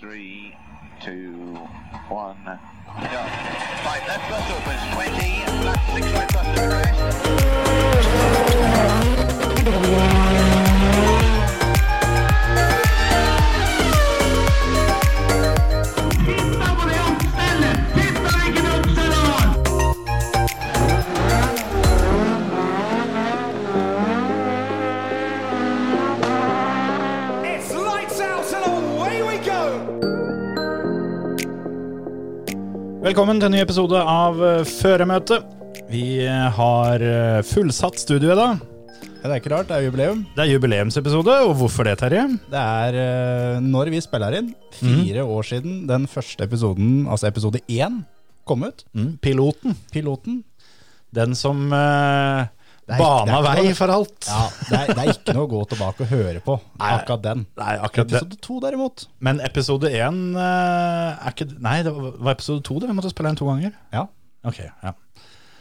three, two, one, go. Right, left bus opens 20, left six right bus to crest. It's lights out and away we go! Velkommen til en ny episode av eh, Føremøte. Vi eh, har eh, fullsatt studio i dag. Ja, Det er ikke rart, det er jubileum. Det er jubileumsepisode, og hvorfor det, Terje? Det er eh, når vi spiller inn, fire Mhm. år siden den første episoden, altså episode én, kom ut. Mm. Piloten. Piloten. Den som eh, er- det bana er ikke vei noe- for alt. Ja, det er, det er ikke noe å gå tilbake og høre på, akkurat den. Nei, akkurat det. Episode to, derimot. Men episode én eh, er ikke Nei, det var var episode to. det. Vi måtte spille den to ganger. Ja. Ok, ja.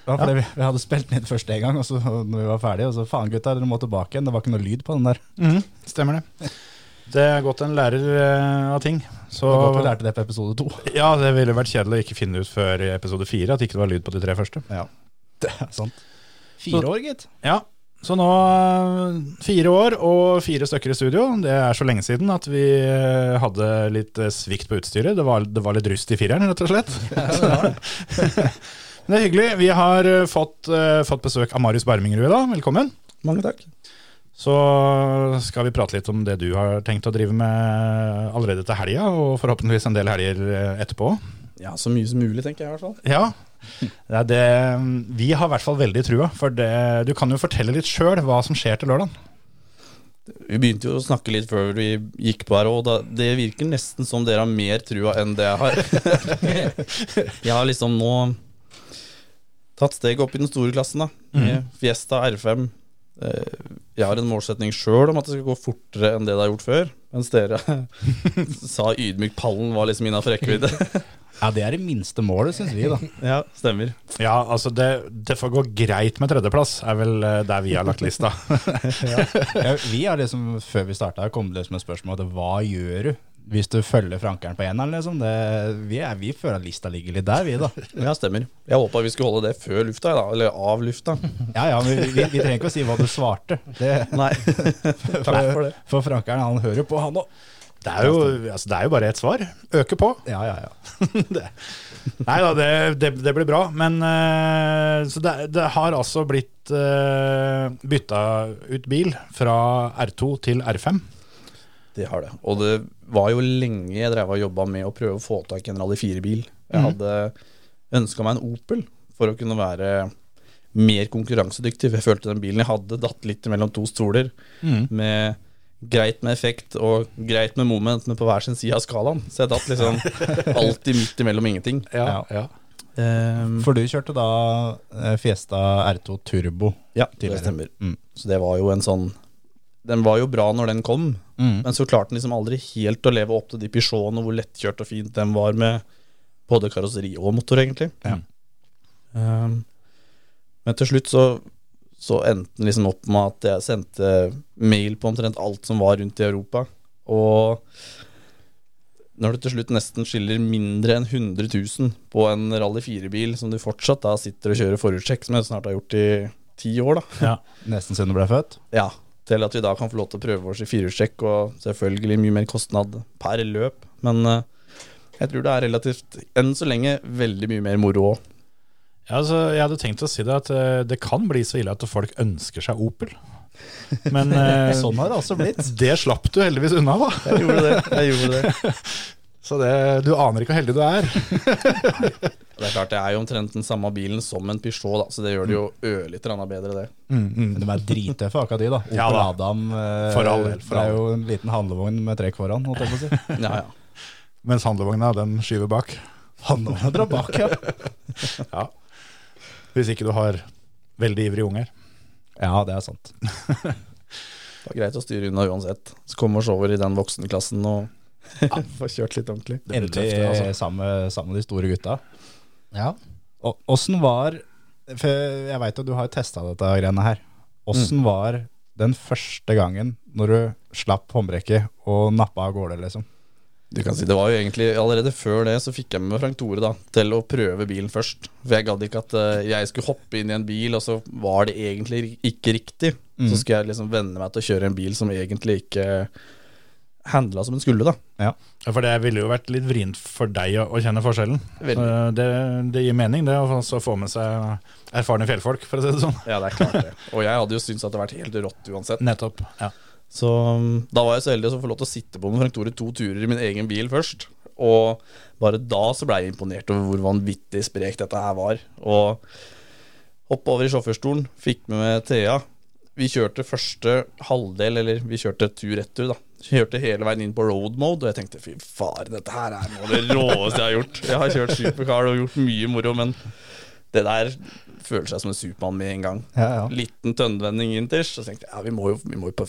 Det var fordi vi, vi hadde spilt den inn først en gang, og så og når vi var ferdige, og så faen gutta, dere må tilbake igjen. Det var ikke noe lyd på den der. Stemmer det. Det er godt en lærer eh, av ting. Så Og godt vi lærte det på episode to. Ja, det ville vært kjedelig å ikke finne ut før i episode fire at ikke det var lyd på de tre første. Ja, det er sånn. sant. Fire år, gitt. Ja, så nå eh, fire år og fire stykker i studio. Det er så lenge siden at vi eh, hadde litt eh, svikt på utstyret. Det var, det var litt rust i fireren, rett og slett. Men det er hyggelig. Vi har eh, fått, eh, fått besøk av Marius Barmingrud i dag. Velkommen. Mange takk. Så skal vi prate litt om det du har tenkt å drive med eh, allerede til helga, og forhåpentligvis en del helger eh, etterpå. Ja, Så mye som mulig, tenker jeg i hvert fall. Ja. Det er det, vi har i hvert fall veldig trua, for det, du kan jo fortelle litt sjøl hva som skjer til lørdag. Vi begynte jo å snakke litt før vi gikk på her, og da, det virker nesten som dere har mer trua enn det jeg har. jeg har liksom nå tatt steget opp i den store klassen, da. Med Fiesta R5. Eh, Jeg har en målsetning sjøl om at det skal gå fortere enn det det har gjort før. Mens dere sa ydmykt pallen var liksom innafor rekkevidde. Ja, det er det minste målet, syns vi, da. ja, stemmer. Ja, altså det, det får gå greit med tredjeplass, er vel eh, der vi har lagt lista. ja, vi har liksom, før vi starta, kommet liksom med spørsmål om hva gjør du hvis du følger frankeren på eneren? Liksom? Det, vi, er, vi føler at lista ligger litt der, vi da. Ja, stemmer. Jeg håpa vi skulle holde det før lufta, da, eller av lufta. Ja, ja, men vi, vi, vi trenger ikke å si hva du svarte. Det, Nei. for, for for, det. frankeren, han hører på, han òg. Det er jo, altså det er jo bare ett svar. Øke på. Ja, ja, ja. det. Nei da, det, det, det blir bra. Men eh, så det, det har altså blitt uh, bytta ut bil fra R2 til R5. Det har det. Og det var jo lenge jeg drev og jobba med å prøve å få tak i en Rally 4-bil. Jeg hadde ønska meg en Opel for å kunne være mer konkurransedyktig. for Jeg følte den bilen jeg hadde, datt litt mellom to stoler. Med greit med effekt og greit med moment, men på hver sin side av skalaen. Så jeg datt liksom alltid midt imellom ingenting. Ja. Ehm, Mm. For du kjørte da eh, Fiesta R2 Turbo. ja, det tidligere. stemmer. Mm. Så det var jo en sånn Den var jo bra når den kom, Mm. Men så klarte den liksom aldri helt å leve opp til de Peugeotene, hvor lettkjørt og fint den var med både karosseri og motor, egentlig. Ja. Um, men til slutt så, så endte den liksom opp med at jeg sendte mail på omtrent alt som var rundt i Europa. Og når du til slutt nesten skiller mindre enn 100 000 på en Rally 4-bil, som du fortsatt da sitter og kjører forhjulstrekk, som jeg snart har gjort i ti år, da. Nesten siden du ble født. Ja, til at vi da kan få lov til å prøve oss i firehjulstrekk, og selvfølgelig mye mer kostnad per løp. Men eh, jeg tror det er relativt, enn så lenge, veldig mye mer moro òg. Ja, altså, jeg hadde tenkt å si det at eh, det kan bli så ille at folk ønsker seg Opel. Men eh, Sånn har det også blitt. det slapp du heldigvis unna, da. Jeg gjorde det. jeg gjorde Det Så det, du aner ikke hvor heldig du er. Det er klart, det er jo omtrent den samme bilen som en Peugeot, da, så det gjør det jo ørlite grann bedre, det. Men de er drittøffe, akkurat de, da. Opel Ja da. Adam. eh, For all del, for det all er jo en liten handlevogn med trekk foran, holdt jeg på å si. Ja, ja. Mens handlevogna, den skyver bak. Handlevogna drar bak, ja. Ja. Hvis ikke du har veldig ivrige unger. Ja, det er sant. Det var greit å styre unna uansett. Så komme oss over i den voksenklassen og få kjørt litt ordentlig. Endelig tøft, det, altså. sammen, med- sammen med de store gutta. Ja. Åssen var For jeg veit jo du har testa dette greiene her. Åssen Mm. var den første gangen når du slapp håndbrekket og nappa av gårde, liksom? Du kan si, det var jo egentlig Allerede før det så fikk jeg med meg Frank Tore da til å prøve bilen først. For jeg gadd ikke at eh, jeg skulle hoppe inn i en bil, og så var det egentlig ri- ikke riktig. Så skulle jeg liksom venne meg til å kjøre en bil som egentlig ikke handla som den skulle, da. Ja. Ja, For det ville jo vært litt vrient for deg å, å kjenne forskjellen. Veldig. Eh, Det, det gir mening, det, å få- så få med seg erfarne fjellfolk, for å si det sånn. Ja, det er klart det. Og jeg hadde jo syntes at det hadde vært helt rått uansett. Nettopp. Ja. Så um, da var jeg så heldig å få lov til å sitte på med Frank Tore to turer i min egen bil først. Og bare da så ble jeg imponert over hvor vanvittig sprekt dette her var. Og hoppe over i sjåførstolen, fikk med meg Thea. Vi kjørte første halvdel, eller vi kjørte tur-retur, da. Kjørte hele veien inn på road mode, og jeg tenkte fy far, dette her er noe av det råeste jeg har gjort. Jeg har kjørt supercar og gjort mye moro, men det der føler seg som en supermann med en gang Ja, ja. liten tønnvending inn til, så tenkte jeg ja, vi må jo, vi må jo på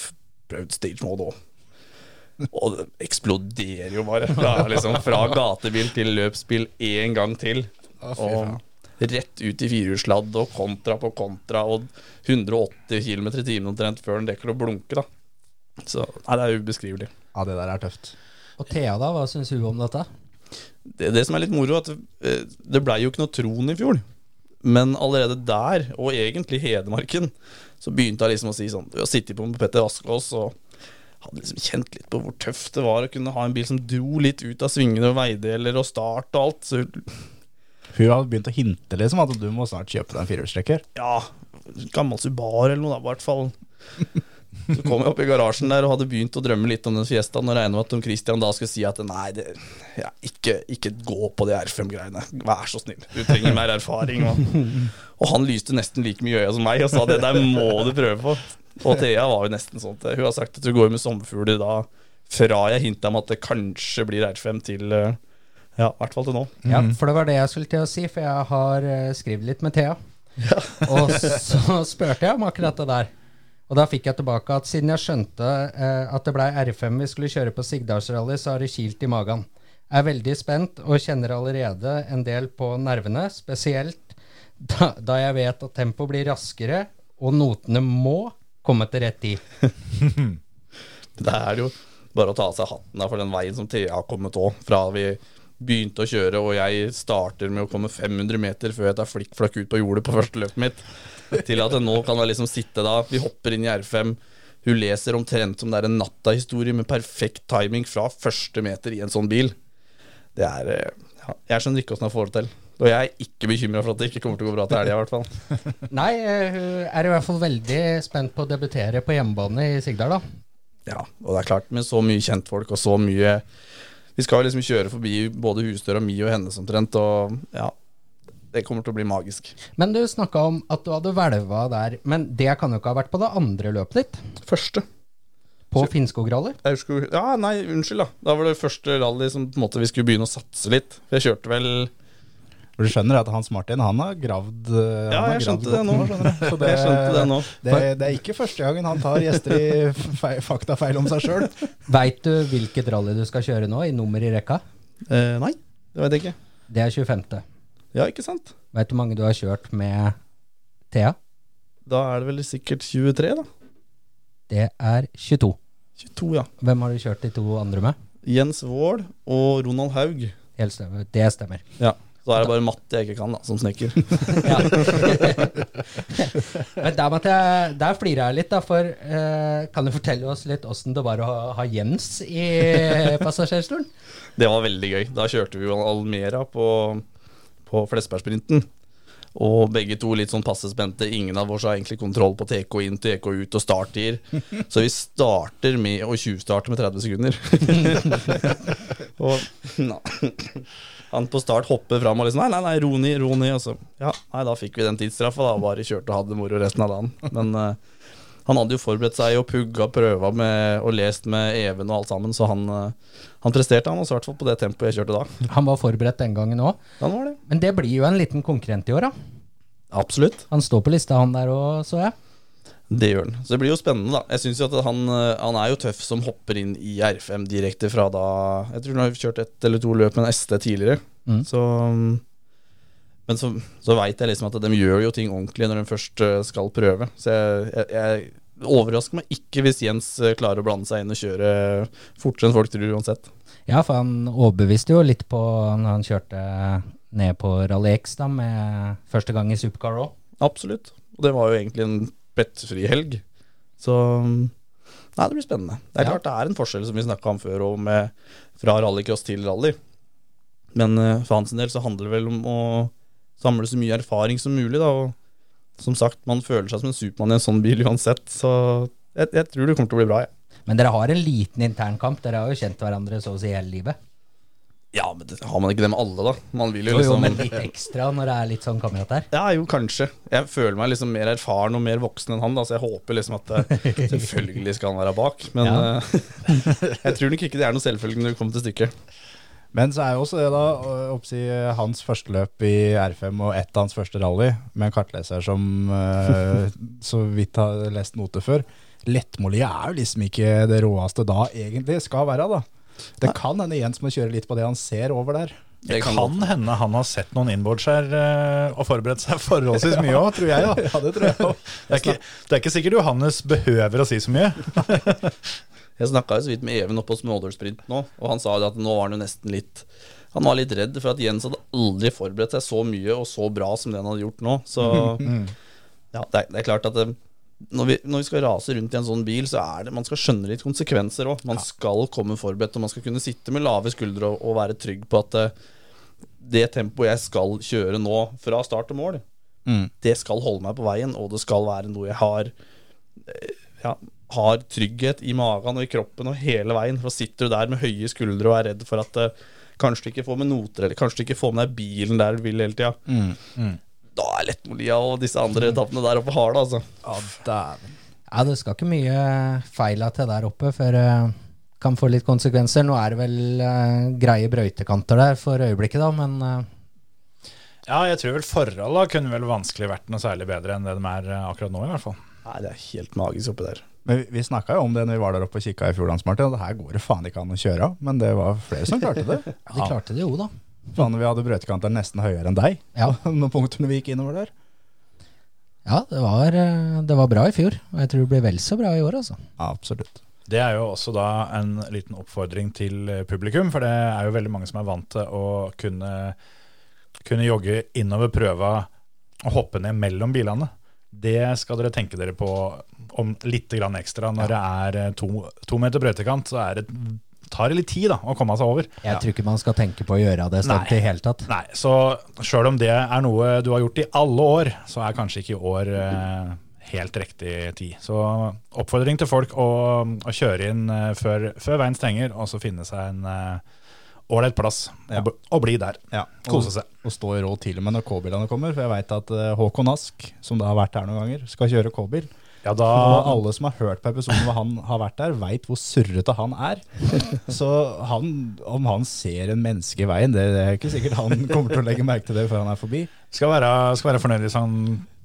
prøvd stage mode òg. Og det eksploderer jo bare. Ja, liksom Fra gatebil til løpsbil én gang til. Og rett ut i firehjulsladd og kontra på kontra og 180 km i timen omtrent før den rekker å blunke, da. Så nei, det er ubeskrivelig. ja, det der er tøft. Og Thea, da, hva syns hun om dette? det, det som er litt moro, er at eh, det blei jo ikke noe tron i fjor. Men allerede der, og egentlig i Hedmarken, så begynte jeg liksom å si sånn Jeg har sittet på med Petter Askås og hadde liksom kjent litt på hvor tøft det var å kunne ha en bil som dro litt ut av svingene og veideler og start og alt. Så Hun har begynt å hinte liksom at du må snart kjøpe deg en firehjulstrekker. ja, gammel Subaru eller noe da, i hvert fall. Så kom jeg opp i garasjen der og hadde begynt å drømme litt om den fiestaen og regna med at Tom Christian da skulle si at nei, det, ja, ikke, ikke gå på de R5-greiene, vær så snill, du trenger mer erfaring. Og, og han lyste nesten like mye i øya som meg og sa det der må du prøve på. Og Thea var jo nesten sånn til Hun har sagt at hun går med sommerfugler da fra jeg hinta om at det kanskje blir R5 til eh, Ja, i hvert fall til nå. Ja, for det var det jeg skulle til å si, for jeg har eh, skrevet litt med Thea. og så spurte jeg om akkurat det der. Og da fikk jeg tilbake at siden jeg skjønte eh, at det blei R5 vi skulle kjøre på Sigdalsrally, så har det kilt i magen. Jeg er veldig spent og kjenner allerede en del på nervene, spesielt da, da jeg vet at tempoet blir raskere, og notene må komme til rett tid. Det er jo bare å ta av seg hatten da, for den veien som Thea har kommet òg. Fra vi begynte å kjøre, og jeg starter med å komme 500 meter før jeg tar flikkflakk ut på jordet på første løpet mitt, til at jeg nå kan jeg liksom sitte da Vi hopper inn i R5. Hun leser omtrent som det er en natta-historie med perfekt timing fra første meter i en sånn bil. Det er eh, ja, Jeg skjønner ikke åssen hun får det til. Og jeg er ikke bekymra for at det ikke kommer til å gå bra til helga, i hvert fall. Nei, eh, hun er i hvert fall veldig spent på å debutere på hjemmebane i Sigdal, da. Ja, og det er klart med så mye kjentfolk og så mye Vi skal jo liksom kjøre forbi både husdøra mi og hennes omtrent, og ja Det kommer til å bli magisk. Men du snakka om at du hadde hvelva der, men det kan jo ikke ha vært på det andre løpet ditt? Første. På Finnskogrally? Aurskog Ja, nei, unnskyld, da. Da var det første rally som på en måte vi skulle begynne å satse litt. For jeg kjørte vel For du skjønner at Hans Martin han har gravd eh, Ja, han har jeg gravd skjønte det nå. godt. Så det- Jeg skjønte det nå. Det, det er ikke første gangen han tar gjester i fe- faktafeil om seg sjøl. Veit du hvilket rally du skal kjøre nå, i nummer i rekka? Eh, nei, det vet jeg ikke. Det er 25. Ja, ikke sant? Veit du hvor mange du har kjørt med Thea? Da er det vel sikkert 23, da. Det er 22. 22, ja. Hvem har du kjørt de to andre med? Jens Vål og Ronald Haug. Helt stemmer. Det stemmer. Ja. Så er det bare matte jeg ikke kan, da, som snekker. Ja. Men der, måtte jeg, der flirer jeg litt, da, for eh, kan du fortelle oss litt åssen det var å ha, ha Jens i passasjerstolen? Det var veldig gøy. Da kjørte vi jo Almera på, på Flesbergsprinten. Og begge to litt sånn passe spente. Ingen av oss har egentlig kontroll på TK inn til EK ut og starttider. Så vi starter med å tjuvstarte med 30 sekunder. og nei. han på start hopper fram og liksom Nei, nei, nei, ro ned, ro ned. Og så ja, nei, da fikk vi den tidsstraffa, da. Bare kjørte og hadde det moro resten av dagen. Men eh, han hadde jo forberedt seg og pugga prøva med, og lest med Even og alt sammen, så han, eh, han presterte, han også, i hvert fall på det tempoet jeg kjørte da. Han var forberedt den gangen òg. Han var det. Men det blir jo en liten konkurrent i år, da. Absolutt. Han står på lista, han der òg, så jeg. Det gjør han. Så det blir jo spennende, da. Jeg synes jo at han, eh, han er jo tøff som hopper inn i R5 direkte fra da Jeg tror han har kjørt ett eller to løp med en ST tidligere, Mm. så mm, Men så, så veit jeg liksom at de gjør jo ting ordentlig når de først eh, skal prøve. Så jeg, jeg, jeg overrasker meg ikke hvis Jens eh, klarer å blande seg inn og kjøre fortere enn folk tror uansett. Ja, for han overbeviste jo litt på når han kjørte ned på Rally X da, med første gang i Supercar òg. Absolutt. Og det var jo egentlig en plettfri helg. Så mm, Nei, det blir spennende. Det er Ja. klart det er en forskjell som vi snakka om før, og med, fra rallycross til rally. Men eh, for hans del så handler det vel om å samle så mye erfaring som mulig, da. Og som sagt, man føler seg som en supermann i en sånn bil uansett, så jeg, jeg tror det kommer til å bli bra, jeg. Men dere har en liten internkamp. Dere har jo kjent hverandre så å si hele livet. Ja, men det, har man ikke det med alle, da? Man vil jo Jo, jo, liksom men litt ekstra når det er litt sånn kamerat der. Ja, jo, kanskje. Jeg føler meg liksom mer erfaren og mer voksen enn han, da, så jeg håper liksom at eh, selvfølgelig skal han være bak. Men Ja. eh, jeg tror nok ikke det er noe selvfølgelig når det kommer til stykket. Men så er jo også det da, å- oppsi hans første løp i R5 og ett av hans første rally, med en kartleser som eh, så vidt har lest noter før. Lettmålige er jo liksom ikke det råeste da egentlig skal være, da. Det kan hende Jens må kjøre litt på det han ser over der. Det Kan, hende han har sett noen inboards her eh, og forberedt seg forholdsvis mye òg, tror jeg. da. Ja, det tror jeg også. Det er, ikke, det er ikke sikkert Johannes behøver å si så mye. Jeg snakka så vidt med Even oppe på Smådalsprint nå, og han sa jo at nå var han jo nesten litt Han var litt redd for at Jens hadde aldri forberedt seg så mye og så bra som det han hadde gjort nå. Så ja, det er, det er klart at eh, når vi, når vi skal rase rundt i en sånn bil, så er det man skal skjønne litt konsekvenser òg. Man skal komme forberedt, og man skal kunne sitte med lave skuldre og, og være trygg på at eh, det tempoet jeg skal kjøre nå, fra start til mål, det skal holde meg på veien, og det skal være noe jeg har ja, har trygghet i magen og i kroppen og hele veien. For da sitter du der med høye skuldre og er redd for at eh, kanskje du ikke får med noter, eller kanskje du ikke får med deg bilen der du vil hele tida. Da er Lettmolia og disse andre etappene der oppe harde, altså. Ja, dæven. Ja, det skal ikke mye feila til der oppe før det kan få litt konsekvenser. Nå er det vel eh, greie brøytekanter der for øyeblikket, da, men eh, Ja, jeg tror vel forholda kunne vel vanskelig vært noe særlig bedre enn det de er eh, akkurat nå, i hvert fall. Nei, det er helt magisk oppi der. Men vi, vi snakka jo om det når vi var der oppe og kikka i fjor, Hans Martin. Og det her går det faen ikke an å kjøre av. Men det var flere som klarte det. de klarte det jo, da. Faen, vi hadde brøytekanter nesten høyere enn deg. Ja. Noen punkter vi gikk innover der. Ja, det var, eh, det var bra i fjor, og jeg tror det blir vel så bra i år, altså. Absolutt. Det er jo også da en liten oppfordring til eh, publikum, for det er jo veldig mange som er vant til å kunne, kunne jogge innover prøva og hoppe ned mellom bilene. Det skal dere tenke dere på om litt grann ekstra. Når det er eh, to, to meter brøytekant, så er det, tar det litt tid da, å komme seg over. Jeg tror ikke man skal tenke på å gjøre det Nei. sterkt i det hele tatt. Nei, Så sjøl om det er noe du har gjort i alle år, så er kanskje ikke i år eh, helt riktig tid. Så oppfordring til folk å, å kjøre inn eh, før, før veien stenger, og så finne seg en eh, ålreit plass Ja. og, b- og bli der. Ja, og, Kose seg. og stå i råd til og med når K-bilene kommer. For jeg veit at eh, Håkon Ask, som da har vært her noen ganger, skal kjøre K-bil. Ja, da, Og alle som har hørt på episoden hvor han har vært der, veit hvor surrete han er. Så han, om han ser en menneske i veien, det, det er ikke sikkert han kommer til å legge merke til det før han er forbi. skal, være, skal være fornøyd hvis han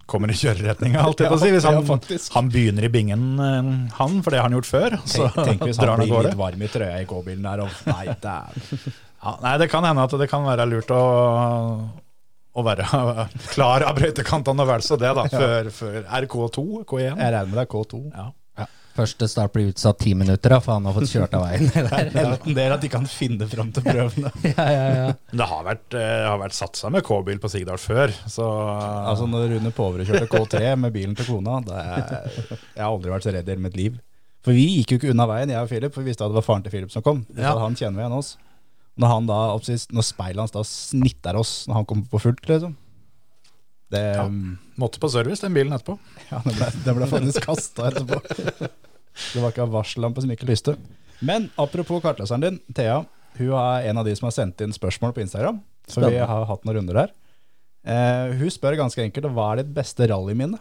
kommer i kjøreretninga, alltid på å si. Hvis Ja, han, faktisk. han begynner i bingen, eh, han, for det har han gjort før. Så Tenk, tenk hvis drar han han av blir gårde. litt varm i trøya i K-bilen der, og nei, dæven. Ja, nei, det kan hende at det kan være lurt å, å være klar av brøytekantene og vel så det, da. Før, før RK2, K1. Jeg regner med det er K2. Ja. Første start blir utsatt ti minutter, da, for han har fått kjørt av veien. Eller? Enten det er at de kan finne fram til prøvene. ja, ja, ja. Men det har vært, eh, har vært satsa med K-bil på Sigdal før, så Altså når Rune Påverud kjørte K3 med bilen til kona det er, Jeg har aldri vært så redd i hele mitt liv. For vi gikk jo ikke unna veien, jeg og Philip, for vi visste at det var faren til Philip som kom. Vi sa Ja. at Han kjenner vi igjen oss. Når, han da, oppsist, når speilet hans da snitter oss når han kommer på fullt, liksom. Det, ja. um, måtte på service den bilen etterpå. den ble, den ble faktisk kasta etterpå. Det var ikke en varsellampe som ikke lyste. Men apropos kartleseren din, Thea. Hun er en av de som har sendt inn spørsmål på Instagram. Så vi Spennende. har hatt noen runder der. Eh, hun spør ganske enkelt hva er ditt beste rallyminne?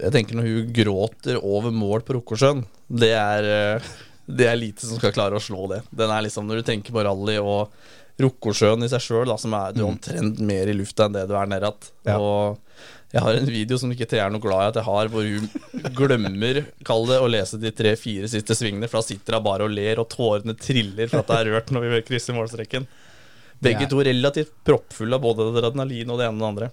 Jeg tenker når hun gråter over mål på Rokkosjøen, det er eh, Det er lite som skal klare å slå det. Den er liksom Når du tenker på rally og Rokkosjøen i seg sjøl, som er du er omtrent mer i lufta enn det du er nede att. Ja. Og jeg har en video som ikke Thea er noe glad i at jeg har, hvor hun glemmer, kall det, å lese de tre-fire siste svingene, for da sitter hun bare og ler, og tårene triller for at det er rørt når vi krysser målstreken. Begge Det er- to relativt proppfulle av både adrenalin og det ene og det andre.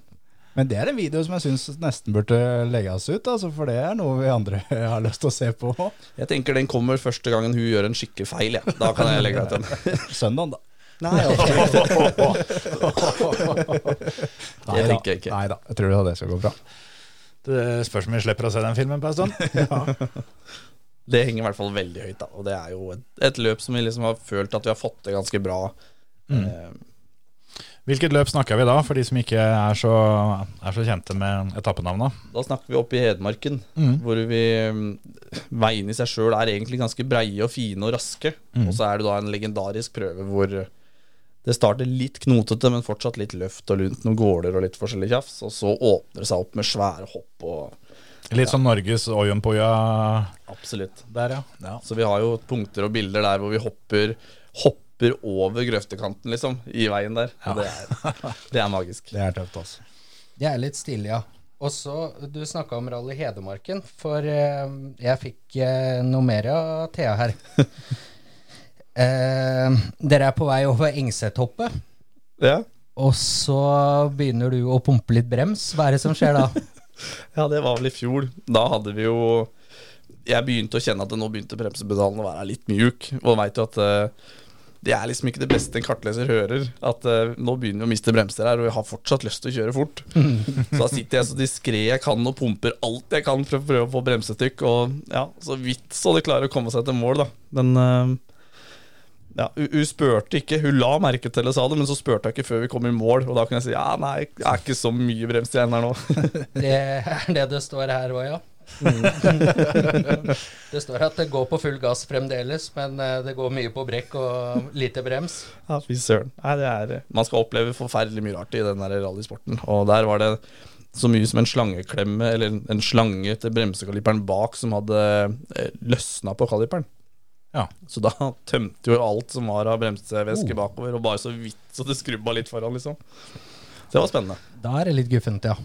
Men det er en video som jeg syns nesten burde legges ut, altså, for det er noe vi andre har lyst til å se på. Jeg tenker den kommer første gangen hun gjør en skikkelig feil. Ja. Da kan jeg legge deg til den. Søndagen, da. Nei, altså. Nei Det da. tenker jeg ikke. Nei da, jeg tror det skal gå bra. Det spørs om vi slipper å se den filmen på en stund. Det henger i hvert fall veldig høyt, da. Og det er jo et, et løp som vi liksom har følt at vi har fått til ganske bra. Mm. Mm. Eh, Hvilket løp snakker vi da, for de som ikke er så, er så kjente med etappenavna? Da snakker vi oppe i Hedmarken, hvor vi mm, veiene i seg sjøl er egentlig ganske breie og fine og raske. Mm. Og så er det da en legendarisk prøve hvor det starter litt knotete, men fortsatt litt løft og lunt, noen gårder og litt forskjellig tjafs. Og så åpner det seg opp med svære hopp og Litt som Norges Oyunpoya Absolutt. der, ja. ja. Så vi har jo punkter og bilder der hvor vi hopper, hopper over grøftekanten, liksom, i veien der. Og det, er, det er magisk. Det er tøft, altså. Det er litt stilig, ja. Og så, du snakka om Rally Hedmarken, for eh, jeg fikk eh, noe mer av Thea her. eh, dere er på vei over Engsethhoppet, Ja. og så begynner du å pumpe litt brems. Hva er det som skjer da? Ja, det var vel i fjor. Da hadde vi jo Jeg begynte å kjenne at det nå begynte bremsepedalen å være litt mjuk. Og veit jo at eh, det er liksom ikke det beste en kartleser hører. At eh, nå begynner vi å miste bremser her, og jeg har fortsatt lyst til å kjøre fort. så da sitter jeg så diskré jeg kan og pumper alt jeg kan for å prøve å få bremsetrykk. Og ja, så vidt så det klarer å komme seg til mål, da. Men eh, ja, hun, hun spurte ikke. Hun la merke til det, sa det, men så spurte jeg ikke før vi kom i mål. Og da kunne jeg si ja, nei, det er ikke så mye bremser igjen her nå. Det er det det står her òg, ja. det står at det går på full gass fremdeles, men eh, det går mye på brekk og lite brems. Ja, fy søren. Nei, det er eh, Man skal oppleve forferdelig mye rart i den der rallysporten. Og der var det så mye som en slangeklemme, eller en- en slange til bremsekaliperen bak, som hadde eh, løsna på kaliperen. Ja. Så da tømte jo alt som var av bremsevæske bakover, og bare så vidt så det skrubba litt foran, liksom. Så det var spennende. Da er det litt guffent, ja.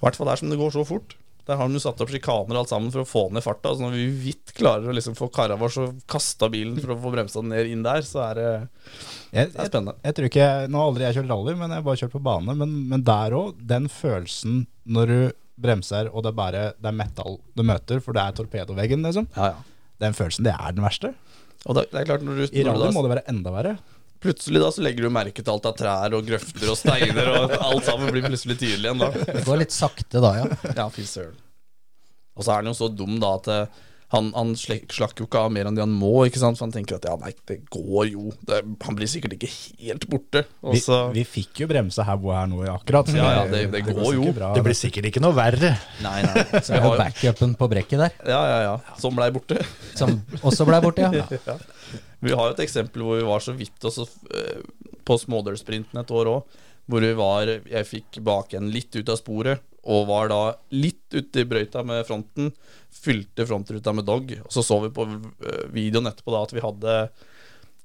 I hvert fall der som det går så fort. Der har de jo satt opp sjikaner og alt sammen for å få ned farta. Så når vi vidt klarer å liksom få kara vår så kasta bilen for å få bremsa den ned inn der, så er det, Jeg, det er jeg, spennende. jeg tror ikke jeg, Nå har aldri jeg kjørt rally, men jeg har bare kjørt på bane. Men, men der òg, den følelsen når du bremser, og det er bare Det er metal du møter, for det er torpedoveggen, liksom. Ja, ja. Den følelsen, det er den verste. Og det, det er klart når du, I når du rally da, må det være enda verre. Plutselig da så legger du merke til alt av trær og grøfter og steiner, og alt sammen blir plutselig tydelig igjen da. Det går litt sakte da, ja. Ja, fy søren. Og så er han jo så dum da at eh, han, han slek- slakk jo ikke av mer enn det han må, ikke sant? For han tenker at ja, nei, det går jo. Det, han blir sikkert ikke helt borte. Og Vi, så vi fikk jo bremsa her hvor jeg er nå, akkurat. Ja, ja, det- det går jo. sikkert Bra, Det blir sikkert ikke noe verre. Nei, nei. Så er jo backupen på brekket der, Ja, ja, ja. Som blei borte. som også ble borte, ja. Vi har jo et eksempel hvor vi var så vidt også, eh, på smådølsprinten et år òg. Hvor vi var, jeg fikk bak en litt ut av sporet, og var da litt ute i brøyta med fronten. Fylte frontruta med dog. Og så så vi på eh, videoen etterpå da at vi hadde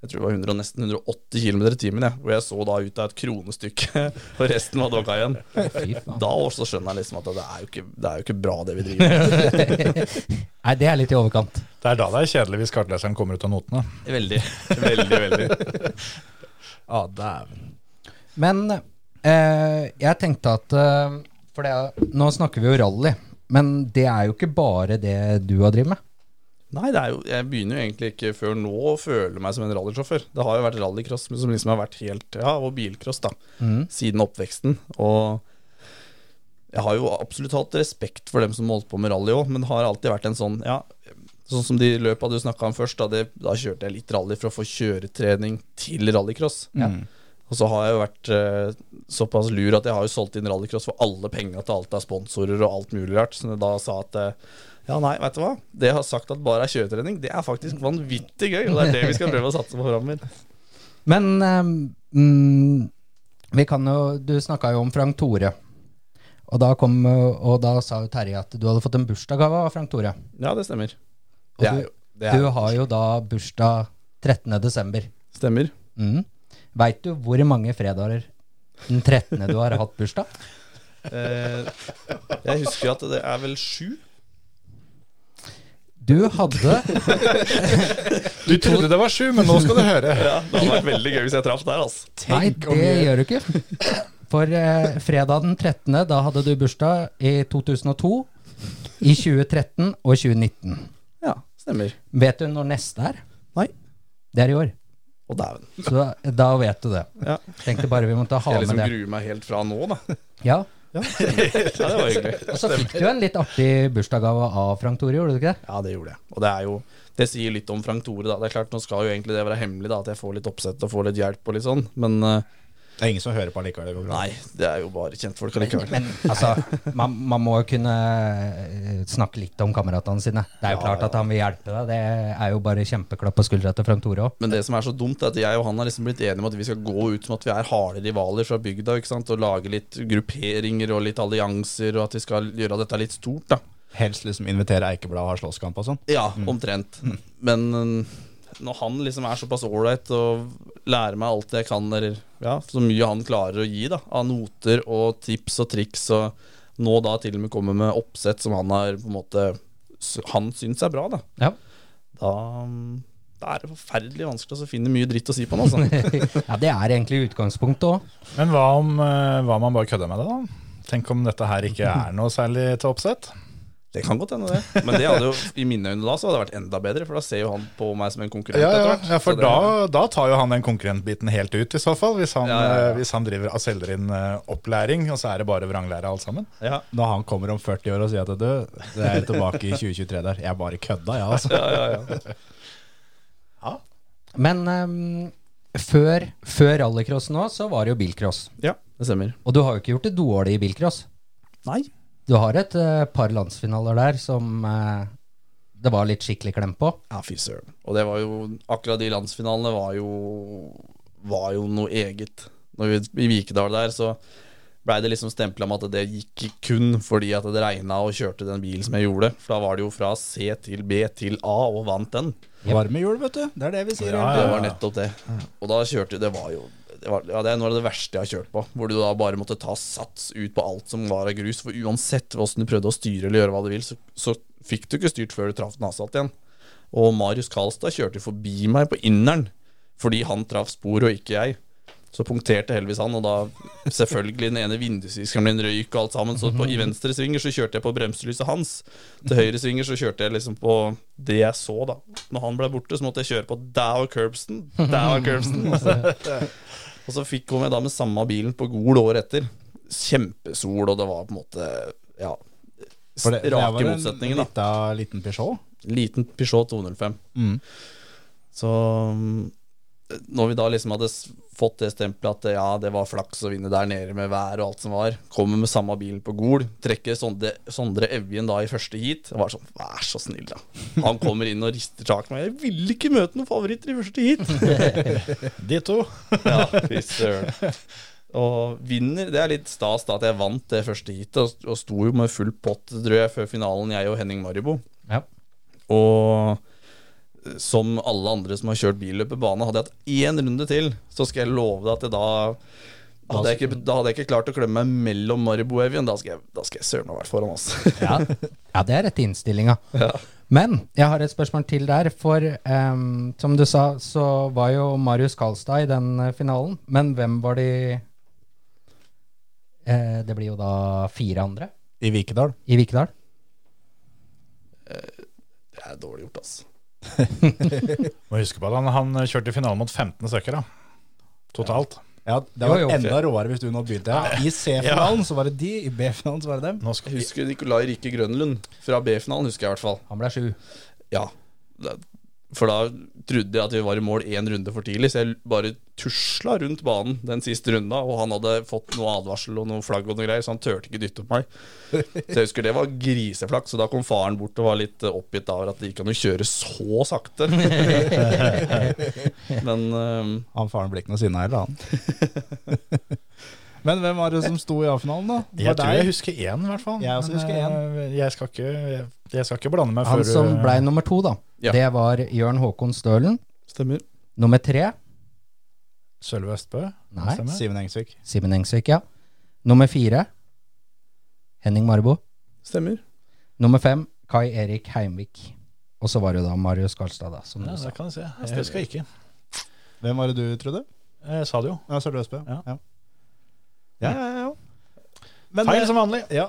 jeg tror det var 100, og nesten 180 km i timen, jeg, hvor jeg så da ut av et kronestykke, og resten var dogga igjen. Fy faen. Da også skjønner jeg liksom at det er jo ikke, det er jo ikke bra, det vi driver med. Nei, det er litt i overkant. Det er da det er kjedelig hvis kartleseren kommer ut av notene. Veldig, veldig. veldig Ah, dæven. Men eh, jeg tenkte at eh, For det, er- nå snakker vi jo rally, men det er jo ikke bare det du har drevet med. Nei, det er jo, jeg begynner jo egentlig ikke før nå å føle meg som en rallysjåfør. Det har jo vært rallycross som liksom har vært helt Ja, og bilcross, da. Siden oppveksten. Og jeg har jo absolutt hatt respekt for dem som holdt på med rally òg, men det har alltid vært en sånn Ja, sånn som de løpa du snakka om først, da, det, da kjørte jeg litt rally for å få kjøretrening til rallycross. Og så har jeg jo vært eh, såpass lur at jeg har jo solgt inn rallycross for alle pengene til alt av sponsorer og alt mulig rart. Så når jeg da sa at eh, ja, nei, vet du hva. Det jeg har sagt at bare er kjøretrening, det er faktisk vanvittig gøy. Og det er det vi skal prøve å satse på framover. Men eh, mm, vi kan jo Du snakka jo om Frank Tore. Og da, kom, eh, og da sa jo Terje at du hadde fått en bursdagsgave av Frank Tore. Ja, det stemmer. Og Det er jo- det er du jo- har jo da bursdag 13. desember. Stemmer. Mm. Veit du hvor mange fredager den 13. du har hatt bursdag? Eh, jeg husker at det er vel sju. Du hadde Du trodde det var sju, men nå skal du høre. Ja, det hadde vært veldig gøy hvis jeg traff der, altså. Nei, om det vi- gjør du ikke. For eh, fredag den 13., da hadde du bursdag i 2002, i 2013 og 2019. Ja, stemmer. Vet du når neste er? Nei. Det er i år. Å, dæven. Så da, da vet du det. Ja. Tenkte bare vi måtte ha Jeg liksom med det. gruer meg helt fra nå, da. Ja. Ja, det var hyggelig. Og så fikk du en litt artig bursdagsgave av Frank Tore, gjorde du ikke det? Ja, det gjorde jeg. Og det er jo Det sier litt om Frank Tore, da. Det er klart, nå skal jo egentlig det være hemmelig, da, at jeg får litt oppsett og får litt hjelp og litt sånn, men eh, Det er ingen som hører på allikevel. Det går bra. nei, det er jo bare kjentfolk allikevel. Men altså, man, man må jo kunne eh, snakke litt om kameratene sine. Det er jo klart at han vil hjelpe deg. Det er jo bare kjempeklapp på skuldra til Frank Tore òg. Men det som er så dumt, er at jeg og han har liksom blitt enige om at vi skal gå ut som at vi er harde rivaler fra bygda. ikke sant? Og lage litt grupperinger og litt allianser, og at vi skal gjøre dette litt stort. da. Helst liksom invitere Eikeblad og ha slåsskamp og sånn. Ja, omtrent. Men øh, når han liksom er såpass ålreit og lærer meg alt jeg kan, eller ja, så mye han klarer å gi da, av noter og tips og triks, og nå da til og med kommer med oppsett som han har på en måte s- Han syns er bra, da. Ja. Da, mm, da er det forferdelig vanskelig å finne mye dritt å si på han, altså. ja, det er egentlig utgangspunktet òg. Men hva om, eh, hva om man bare kødder med det, da? Tenk om dette her ikke er noe særlig til oppsett? Det kan godt hende, det. Men det hadde jo, i mine øyne da så hadde det vært enda bedre, for da ser jo han på meg som en konkurrent. Ja, ja, etter hvert. ja for Så det- da, da tar jo han den konkurrentbiten helt ut, i så fall. Hvis han, Ja, ja, ja. eh, Hvis han driver og selger inn eh, opplæring, og så er det bare vranglære alt sammen. ja. Når han kommer om 40 år og sier at du, det er tilbake i 2023 der. Jeg bare kødda, jeg, altså. Ja, ja, ja. Men ehm, før, før rallycross nå, så var det jo bilcross. ja, det stemmer. Og du har jo ikke gjort det dårlig i bilcross. Nei. Du har et eh, par landsfinaler der som eh, det var litt skikkelig klem på. Ja, fy søren. Og det var jo Akkurat de landsfinalene var jo Var jo noe eget. Når vi, I Vikedal der så blei det liksom stempla med at det gikk kun fordi at det regna og kjørte den bilen som jeg gjorde. For da var det jo fra C til B til A, og vant den. Varme jul, vet du. Det er det vi sier. Ja, Det var nettopp det. Og da kjørte Det var jo det, var, ja, det er noe av det verste jeg har kjørt på. Hvor du da bare måtte ta sats ut på alt som var av grus. For uansett hvordan du prøvde å styre eller gjøre hva du vil, så, så fikk du ikke styrt før du traff den asfalt igjen. Og Marius Karlstad kjørte forbi meg på inneren fordi han traff spor og ikke jeg. Så punkterte heldigvis han, og da selvfølgelig den ene vindusviskeren min røyk og alt sammen. Så på, i venstre svinger så kjørte jeg på bremselyset hans. Til høyre svinger så kjørte jeg liksom på det jeg så, da. Når han ble borte, så måtte jeg kjøre på Dow Curbsten. Dow Curbsten. og så fikk kom jeg da med samme bilen på Gol året etter. Kjempesol, og det var på en måte Ja. For det- det her var Rake en motsetninger, da. lita- liten Peugeot. Liten Peugeot 205. Mm. Så mm, når vi da liksom hadde s- fått det stempelet at ja, det var flaks å vinne der nede med vær og alt som var, kommer med samme bilen på Gol, trekker Sondre, Sondre Evjen da i første heat, og var sånn vær så snill, da. Han kommer inn og rister tak i meg. Jeg ville ikke møte noen favoritter i første heat. De to. Ja, fy søren. Og vinner, Det er litt stas da at jeg vant det første heatet, og, og sto jo med full pott tror jeg, før finalen, jeg og Henning Maribo. Ja. Og som alle andre som har kjørt billøp på bane, hadde jeg hatt én runde til, så skal jeg love deg at jeg da hadde jeg, ikke, da hadde jeg ikke klart å klemme meg mellom Maribo og Evjen. Da skal jeg, da skal jeg søren meg vært foran, altså. Ja, det er rett i innstillinga. Men jeg har et spørsmål til der. For ehm, som du sa, så var jo Marius Karlstad i den eh, finalen. Men hvem var de eh, Det blir jo da fire andre I Vikedal. i Vikedal. Det er dårlig gjort, altså. Må huske på at han, han kjørte i finalen mot 15 stykker, da. Totalt. Ja, Det Jo, var jo. enda råere hvis du nå begynte. Ja. I C-finalen så var det de, i B-finalen så var det dem. Nå skal Jeg husker Nikolai Rikke Grønlund fra B-finalen, husker jeg i hvert fall. Han ble sju. Ja. Da- For da trodde jeg at vi var i mål én runde for tidlig, så jeg bare tusla rundt banen den siste runda, og han hadde fått noe advarsel og noe flagg og noe greier, så han turte ikke dytte på meg. Så jeg husker det var griseflaks, og da kom faren bort og var litt eh, oppgitt over at det gikk an å kjøre så sakte. Men eh, Han faren ble ikke noe sinna heller, han. Men hvem var det som sto i A-finalen, da? Det Jeg var tror jeg deg. husker én, i hvert fall. Jeg også Men, husker eh, Jeg skal ikke, jeg, jeg skal ikke blande meg Han før som eh, blei nummer to, da, Ja. det var Jørn Håkon Stølen. Stemmer. Nummer tre Sølve Østbø. Nei, stemmer det? Simen Engsvik. Simen Engsvik, ja. Nummer fire Henning Marbo. Stemmer. Nummer fem Kai Erik Heimvik. Og så var det jo da Marius Karlstad, da, som Ja, du sa. det kan du se. Jeg husker ikke. Hvem var det du trodde? Jeg sa det jo. Ja, Sørre Østbø. Ja. Ja. Ja, ja, ja. Men Feil det- som vanlig. ja.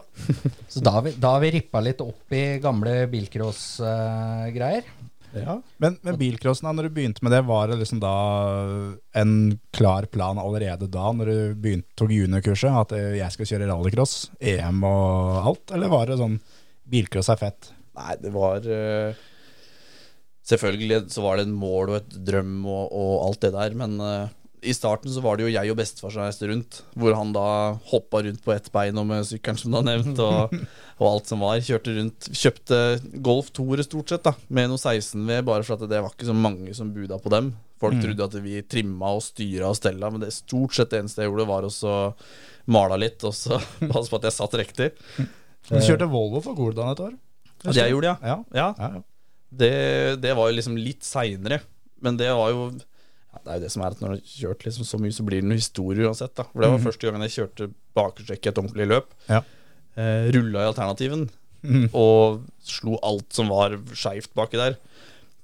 Så da har vi, da har vi rippa litt opp i gamle bilcross-greier. Ja. eh, Men, men bilcrossen, da, når du begynte med det, var det liksom da en klar plan allerede da, når du begynte, tok juniorkurset, at eh, jeg skal kjøre rallycross, EM og alt? Eller var det sånn bilcross er fett? Nei, det var eh, Selvfølgelig så var det en mål og et drøm og, og alt det der, men eh, i starten så var det jo jeg og bestefar som reiste rundt, hvor han da hoppa rundt på ett bein og med sykkelen som du har nevnt, og, og alt som var. Kjørte rundt, kjøpte Golf 2-ere stort sett, da, med noe 16V, bare for at det var ikke så mange som buda på dem. Folk trodde at vi trimma og styra og stella, men det stort sett det eneste jeg gjorde, var også mala litt, og så passe på at jeg satt riktig. Eh. Du kjørte Volvo for Goldan et år? At jeg gjorde det, Ja. ja. ja. Det, det var jo liksom litt seinere, men det var jo ja, Det er jo det som er at når du har kjørt liksom så mye, så blir det noen historier uansett. da For Det var første gangen jeg kjørte bakhjulstrekk i et ordentlig løp. Mhm. Ja. Eh, Rulla i alternativen Mhm. og slo alt som var skeivt baki der.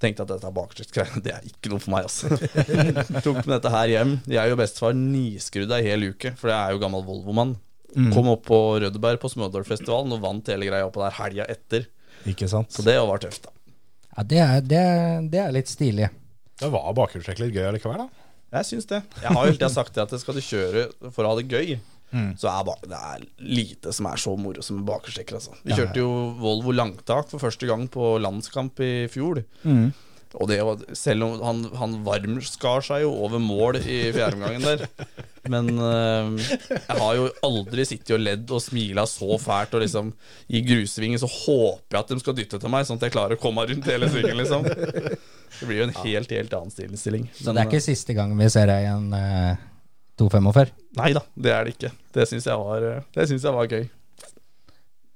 Tenkte at dette bakhjulstrekk det er ikke noe for meg, altså. Tok med dette her hjem. Jeg og bestefar niskrudde ei hel uke, for jeg er jo gammel Volvo-mann. Mhm. Kom opp på Rødberg på Smødalfestivalen og vant hele greia oppå der helga etter. Ikke sant? Så det var tøft, da. Ja, det er, det, er- det er litt stilig. Det var bakhjulstrekk litt gøy allikevel, da. Jeg syns det. Jeg har jo alltid sagt det at skal du kjøre for å ha det gøy, så er bak, det er lite som er så moro som bakerstekker. Altså. Vi kjørte jo Volvo langtak for første gang på landskamp i fjor. Og det var, selv om han, han varmskar seg jo over mål i fjerdeomgangen der. Men eh, jeg har jo aldri sittet og ledd og smila så fælt. Og liksom i grusvingen så håper jeg at de skal dytte til meg, sånn at jeg klarer å komme meg rundt hele svingen, liksom. Det blir jo en helt, helt annen stilling. Så det er ikke siste gang vi ser deg i en eh, 245. Nei da, det er det ikke. Det syns jeg, var- eh, det synes jeg var gøy.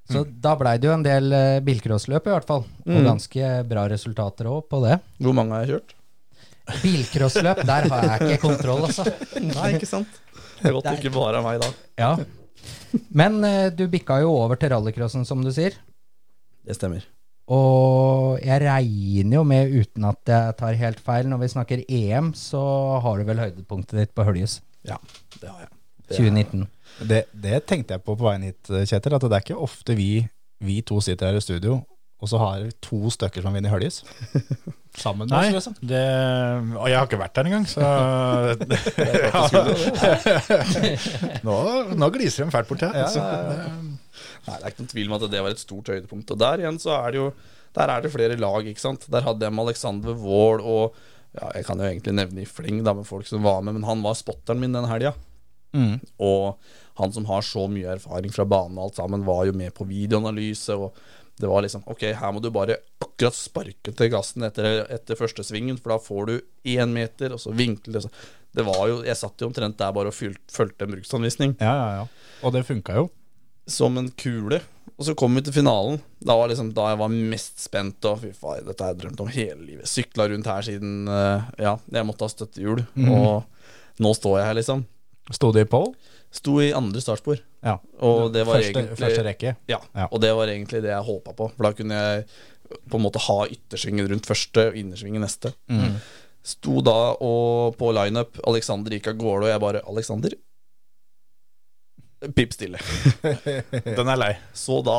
Så da blei det jo en del eh, bilcrossløp, i hvert fall. Og ganske bra resultater òg på det. Hvor mange har jeg kjørt? Bilcrossløp, der har jeg ikke kontroll, altså. Nei, ikke sant? Det er godt det ikke bare er meg da. Ja. Men eh, du bikka jo over til rallycrossen, som du sier. Det stemmer. Og jeg regner jo med, uten at jeg tar helt feil, når vi snakker EM, så har du vel høydepunktet ditt på Høljes Ja, det har jeg. Det er- 2019. Det, det tenkte jeg på på veien hit, eh, Kjetil, at det er ikke ofte vi, vi to sitter her i studio, og så har vi to stykker som vinner Høljes. Sammen med Nei, oss, liksom. det, og jeg har ikke vært der engang, så nå, nå gliser de fælt bort her. altså. så- Nei, det er ikke noen tvil om at det var et stort høydepunkt. Og der igjen så er det jo Der er det flere lag, ikke sant. Der hadde jeg med Alexander Wold og ja, Jeg kan jo egentlig nevne i fleng da med folk som var med, men han var spotteren min den helga. Og han som har så mye erfaring fra banen og alt sammen, var jo med på videoanalyse. Og det var liksom Ok, her må du bare akkurat sparke til gassen etter, etter første svingen, for da får du én meter, og så vinkel det så. Det var jo Jeg satt jo omtrent der bare og fylt- fulgte en bruksanvisning Ja, ja, ja. Og det funka jo. som en kule. Og så kom vi til finalen. Da var liksom da jeg var mest spent. Og fy faen, dette har jeg drømt om hele livet. Sykla rundt her siden eh, ja, jeg måtte ha støttehjul. Mhm. Og nå står jeg her, liksom. Sto det i poll? Sto i andre startspor. Ja. Og det var første, egentlig første rekke. ja, Ja. og det var egentlig det jeg håpa på. For da kunne jeg på en måte ha yttersvingen rundt første og innersvingen neste. Mm. Sto da og på lineup, Alexander gikk av gårde, og jeg bare Alexander? Pip stille. Den er lei. Så da,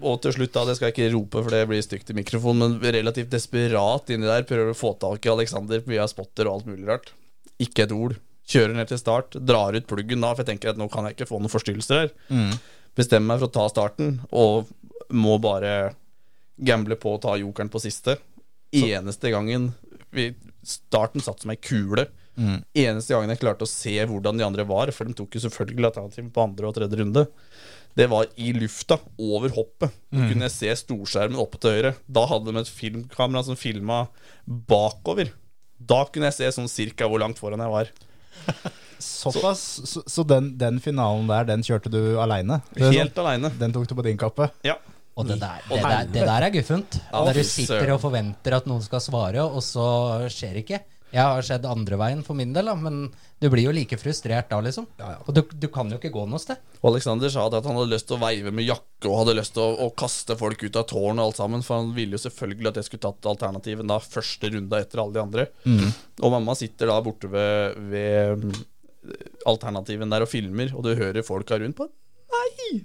og til slutt da, det skal jeg ikke rope for det blir stygt i mikrofonen, men relativt desperat inni der prøver å få tak i Alexander via spotter og alt mulig rart. Ikke et ord. Kjører ned til start, drar ut pluggen da, for jeg tenker at nå kan jeg ikke få noen forstyrrelser her. Bestemmer meg for å ta starten, og må bare gamble på å ta jokeren på siste. Eneste gangen vi, Starten satt som ei kule. Eneste gangen jeg klarte å se hvordan de andre var, for de tok jo selvfølgelig alternativ på andre og tredje runde. Det var i lufta, over hoppet. Da kunne jeg se storskjermen oppe til høyre. Da hadde de et filmkamera som filma bakover. Da kunne jeg se sånn cirka hvor langt foran jeg var. Såpass. Så, så den, den finalen der, den kjørte du aleine? sånn, Helt aleine. Den tok du på din kappe? Ja. Og det der, det der, det der er guffent. Ja, Der du fy sitter søren. og forventer at noen skal svare, og så skjer det ikke. Jeg har skjedd andre veien for min del, da, men du blir jo like frustrert da, liksom. Og du, du kan jo ikke gå noe sted. Og Alexander sa det at han hadde lyst til å veive med jakke og hadde lyst til å, å kaste folk ut av tårnet og alt sammen, for han ville jo selvfølgelig at jeg skulle tatt alternativen da Mm. første runda etter alle de andre. Og mamma sitter da borte ved, ved alternativen der og filmer, og du hører folka rundt på Nei!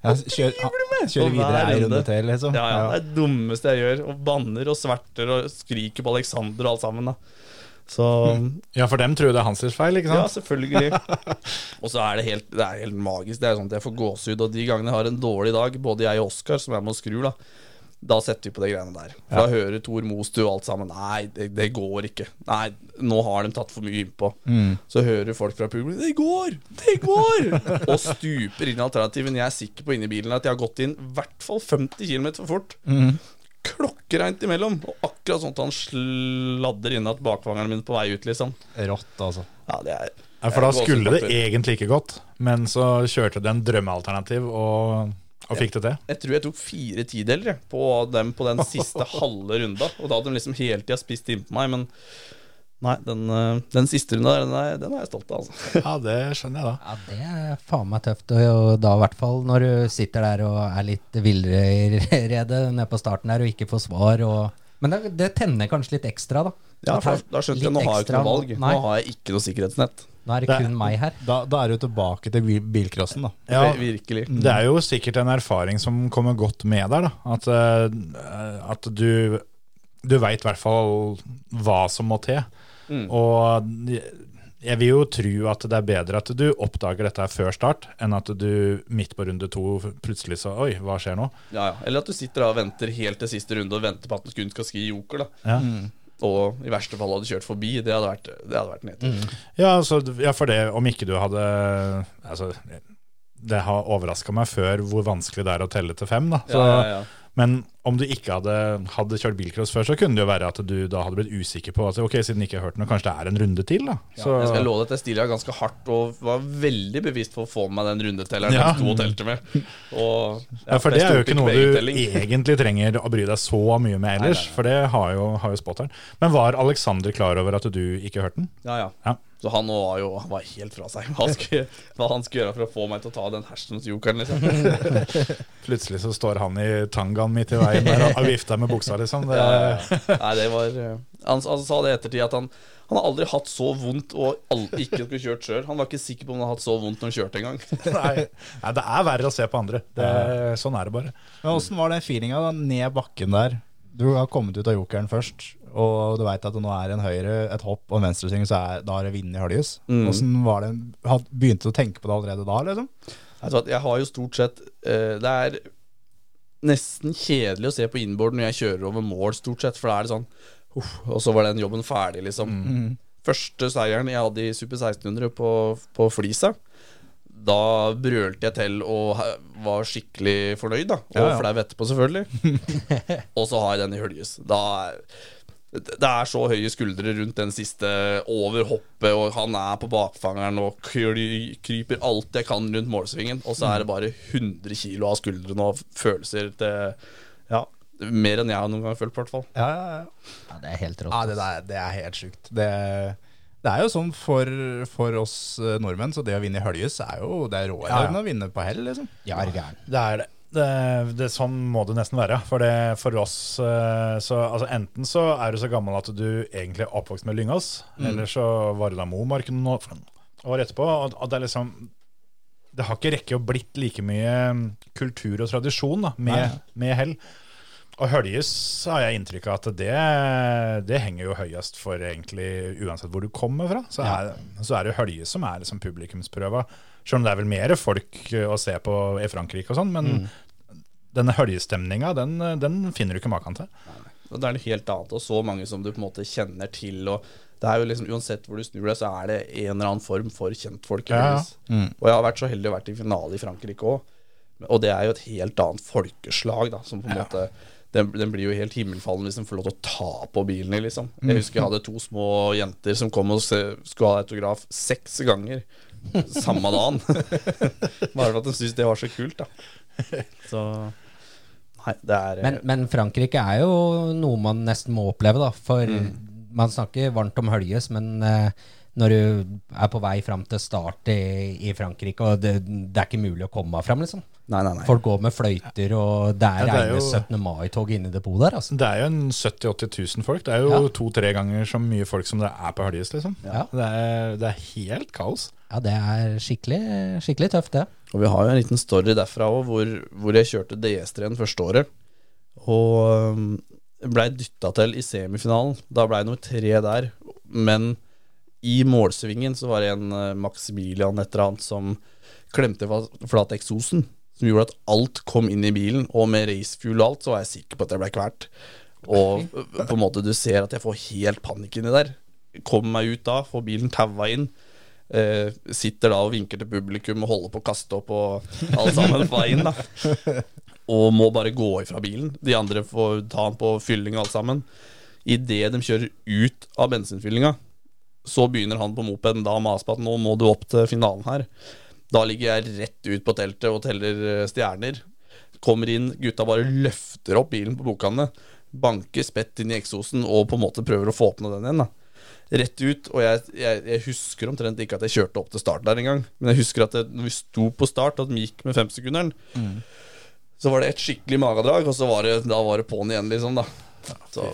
Ja, kjør, kjøre Og videre hver ei runde runde. til, liksom. Sånn Ja, ja, det er det dummeste jeg gjør. Og banner og sverter og skriker på Alexander og alt sammen. da Så Mm. Ja, for dem tror jeg det er hans feil, ikke ja, sant? selvfølgelig. Og så er det helt, det er helt magisk. Det er sånn at Jeg får gåsehud. Og de gangene jeg har en dårlig dag, både jeg og Oskar, som jeg må skru, da da setter vi på de greiene der. For Da hører Tor Mostu og alt sammen. Nei, det, det går ikke. Nei, nå har de tatt for mye innpå. Så hører folk fra publikum Det går! Det går! og stuper inn i alternativen. Jeg er sikker på inni bilen at jeg har gått inn i hvert fall 50 km for fort. Klokkereint imellom. Og akkurat sånn at han sladder inn at bakvangeren min på vei ut, liksom. Rått, altså. Ja, det er Ja, for det da er skulle det gåsehud. egentlig ikke gått, men så kjørte de en drømmealternativ og, og fikk det til. Jeg tror jeg tok fire tideler jeg, på dem på den siste halve runda. Og da hadde de liksom hele tida spist innpå meg, men nei, den, eh, den siste runda der, den er, den er jeg stolt av, altså. Ja, det skjønner jeg da. Ja, det er faen meg tøft. Og jo da i hvert fall når du sitter der og er litt villrede nede på starten der og ikke får svar. Og... Men det, det tenner kanskje litt ekstra, da. Ja, Man for får da- da skjønte jeg litt nå har jeg ikke ekstra- noe valg. Nei, Nå har jeg ikke noe sikkerhetsnett. nå er det Det- kun meg her. Da, da er du tilbake til bil- bilcrossen, da. Mm. Ja, Mm. Vir- Virkelig. Det er jo sikkert en erfaring som kommer godt med der, da. At, eh, at du, du veit i hvert fall hva som må til. Og jeg vil jo tro at det er bedre at du oppdager dette her før start, enn at du midt på runde to plutselig så Oi, hva skjer nå? Ja, ja. Eller at du sitter da og venter helt til siste runde og venter på at den kun skal skri joker, da. Mm. Ja, Og i verste fall hadde kjørt forbi. Det hadde vært, det hadde vært nedtur. ja, altså, ja for det, om ikke du hadde Altså, det har overraska meg før hvor vanskelig det er å telle til fem, da. Så, Ja, ja, ja. Men om du ikke hadde, hadde kjørt bilcross før, så kunne det jo være at du da hadde blitt usikker på at ok, siden jeg ikke har hørt noe, kanskje det er en runde til, da. Så, Jeg skal love at jeg stilla ganske hardt og var veldig bevisst på å få med meg den rundetelleren Ja. jeg sto og telte med. Og, ja, for det jeg sto er jo ikke opp i noe du begge-telling. egentlig trenger å bry deg så mye med ellers, for det har jo, har jo spotteren. Men var Alexander klar over at du ikke hørte den? Ja, ja. Ja. Så han var jo han var helt fra seg. Hva, han skulle, hva han skulle gjøre for å få meg til å ta den hersens jokeren, liksom. Plutselig så står han i tangaen midt i veien der og og vifter med buksa, liksom. Det, Ja, ja. Nei, det var eh, han, han sa det i ettertid, at han, han har aldri hatt så vondt og all, ikke skulle kjørt sjøl. Han var ikke sikker på om han hadde hatt så vondt når han kjørte engang. nei, nei, det er verre å se på andre. Det, sånn er det bare. Men åssen var den feelinga da, ned bakken der? Du har kommet ut av jokeren først, og du veit at det nå er en høyre, et hopp og en venstresving, så er, da er det vind i høljes. Åssen var det had- Begynte du å tenke på det allerede da, liksom? Jeg, tror at jeg har jo stort sett eh, Det er nesten kjedelig å se på inboard når jeg kjører over mål, stort sett. For da er det sånn uff, Og så var den jobben ferdig, liksom. Mm. Første seieren jeg hadde i Super 1600 på, på Flisa, da brølte jeg til og he- var skikkelig fornøyd, da. Og Ja, ja. flau etterpå, selvfølgelig. og så har jeg den i høljes. Da er det er så høye skuldre rundt den siste over hoppet, og han er på bakfangeren og kry- kryper alt jeg kan rundt målsvingen, og så er det bare 100 kilo av skuldrene og følelser til Ja, mer enn jeg har noen gang følt, i hvert fall. Ja, ja, ja. Ja, det er helt rått. Ah, Ja, det, der, det er helt sjukt. Det, det er jo sånn for, for oss eh, nordmenn, så det å vinne i høljes er jo det er råere Ja, ja. enn å vinne på hell, liksom. Ja, er du gæren. Det er det. det, det sånn må det nesten være. For, det, for oss eh, så, altså Enten så er du så gammel at du egentlig er oppvokst med Lyngås, Mm. eller så var du da Momark noen år, år etterpå. Og, og det er liksom Det har ikke rekke å blitt like mye mm, kultur og tradisjon da, med, med hell. Og Høljes har jeg inntrykk av at det, det henger jo høyest for egentlig uansett hvor du kommer fra. Så er, så er det jo Høljes som er liksom publikumsprøva. Selv om det er vel mer folk eh, å se på i Frankrike og sånn, men Mm. denne høljestemninga, den, eh, den finner du ikke maken til. Og det er noe helt annet, og så mange som du på en måte kjenner til, og det er jo liksom Uansett hvor du snur deg, så er det en eller annen form for kjentfolk. i Ja, ja. Paris. Og jeg har vært så heldig å vært i finale i Frankrike òg. Og det er jo et helt annet folkeslag, da, som på en måte den, den blir jo helt himmelfallen hvis den får lov til å ta på bilen, liksom. Jeg husker jeg hadde to små jenter som kom og se, skulle ha autograf seks ganger samme dagen. Bare for at de syntes det var så kult, da. Så Nei, det er Men, men Frankrike er jo noe man nesten må oppleve, da. For Mm. man snakker varmt om Høljes, men eh, når du er på vei fram til start i, i Frankrike, og det, det er ikke mulig å komme fram, liksom. Nei, nei, nei. Folk går med fløyter, og det Ja, er det er reine jo- 17. mai-tog inne i depotet der, altså. Det er jo en 70 000-80 000 folk. Det er jo to-tre ganger så mye folk som det er på Høljes, liksom. Ja. Det, er, det er helt kaos. Ja, det er skikkelig, skikkelig tøft, det. Og vi har jo en liten story derfra òg, hvor, hvor jeg kjørte DS3 første året. Og øhm, blei dytta til i semifinalen. Da blei det noe tre der. Men i målsvingen så var det en eh, Maximilian et eller annet som klemte fa- flat eksosen. Som gjorde at alt kom inn i bilen. Og med racefuel og alt, så var jeg sikker på at jeg blei kvalt. Og øh, på en måte du ser at jeg får helt panikk inni der. Kommer meg ut da, får bilen taua inn. Eh, sitter da og vinker til publikum og holder på å kaste opp og alle sammen på veien, da. Og må bare gå ifra bilen. De andre får ta han på fylling og alt sammen. Idet de kjører ut av bensinfyllinga, så begynner han på mopeden da å mase på at nå må du opp til finalen her. Da ligger jeg rett ut på teltet og teller eh, stjerner. Kommer inn, gutta bare løfter opp bilen på bokhandelen. Banker spett inn i eksosen og på en måte prøver å få åpne den igjen. da rett ut, og jeg, jeg, jeg husker omtrent ikke at jeg kjørte opp til start der engang. Men jeg husker at det, når vi sto på start, at vi gikk med femsekunderen, så var det et skikkelig magedrag, og så var det, da var det på'n igjen, liksom, da. Så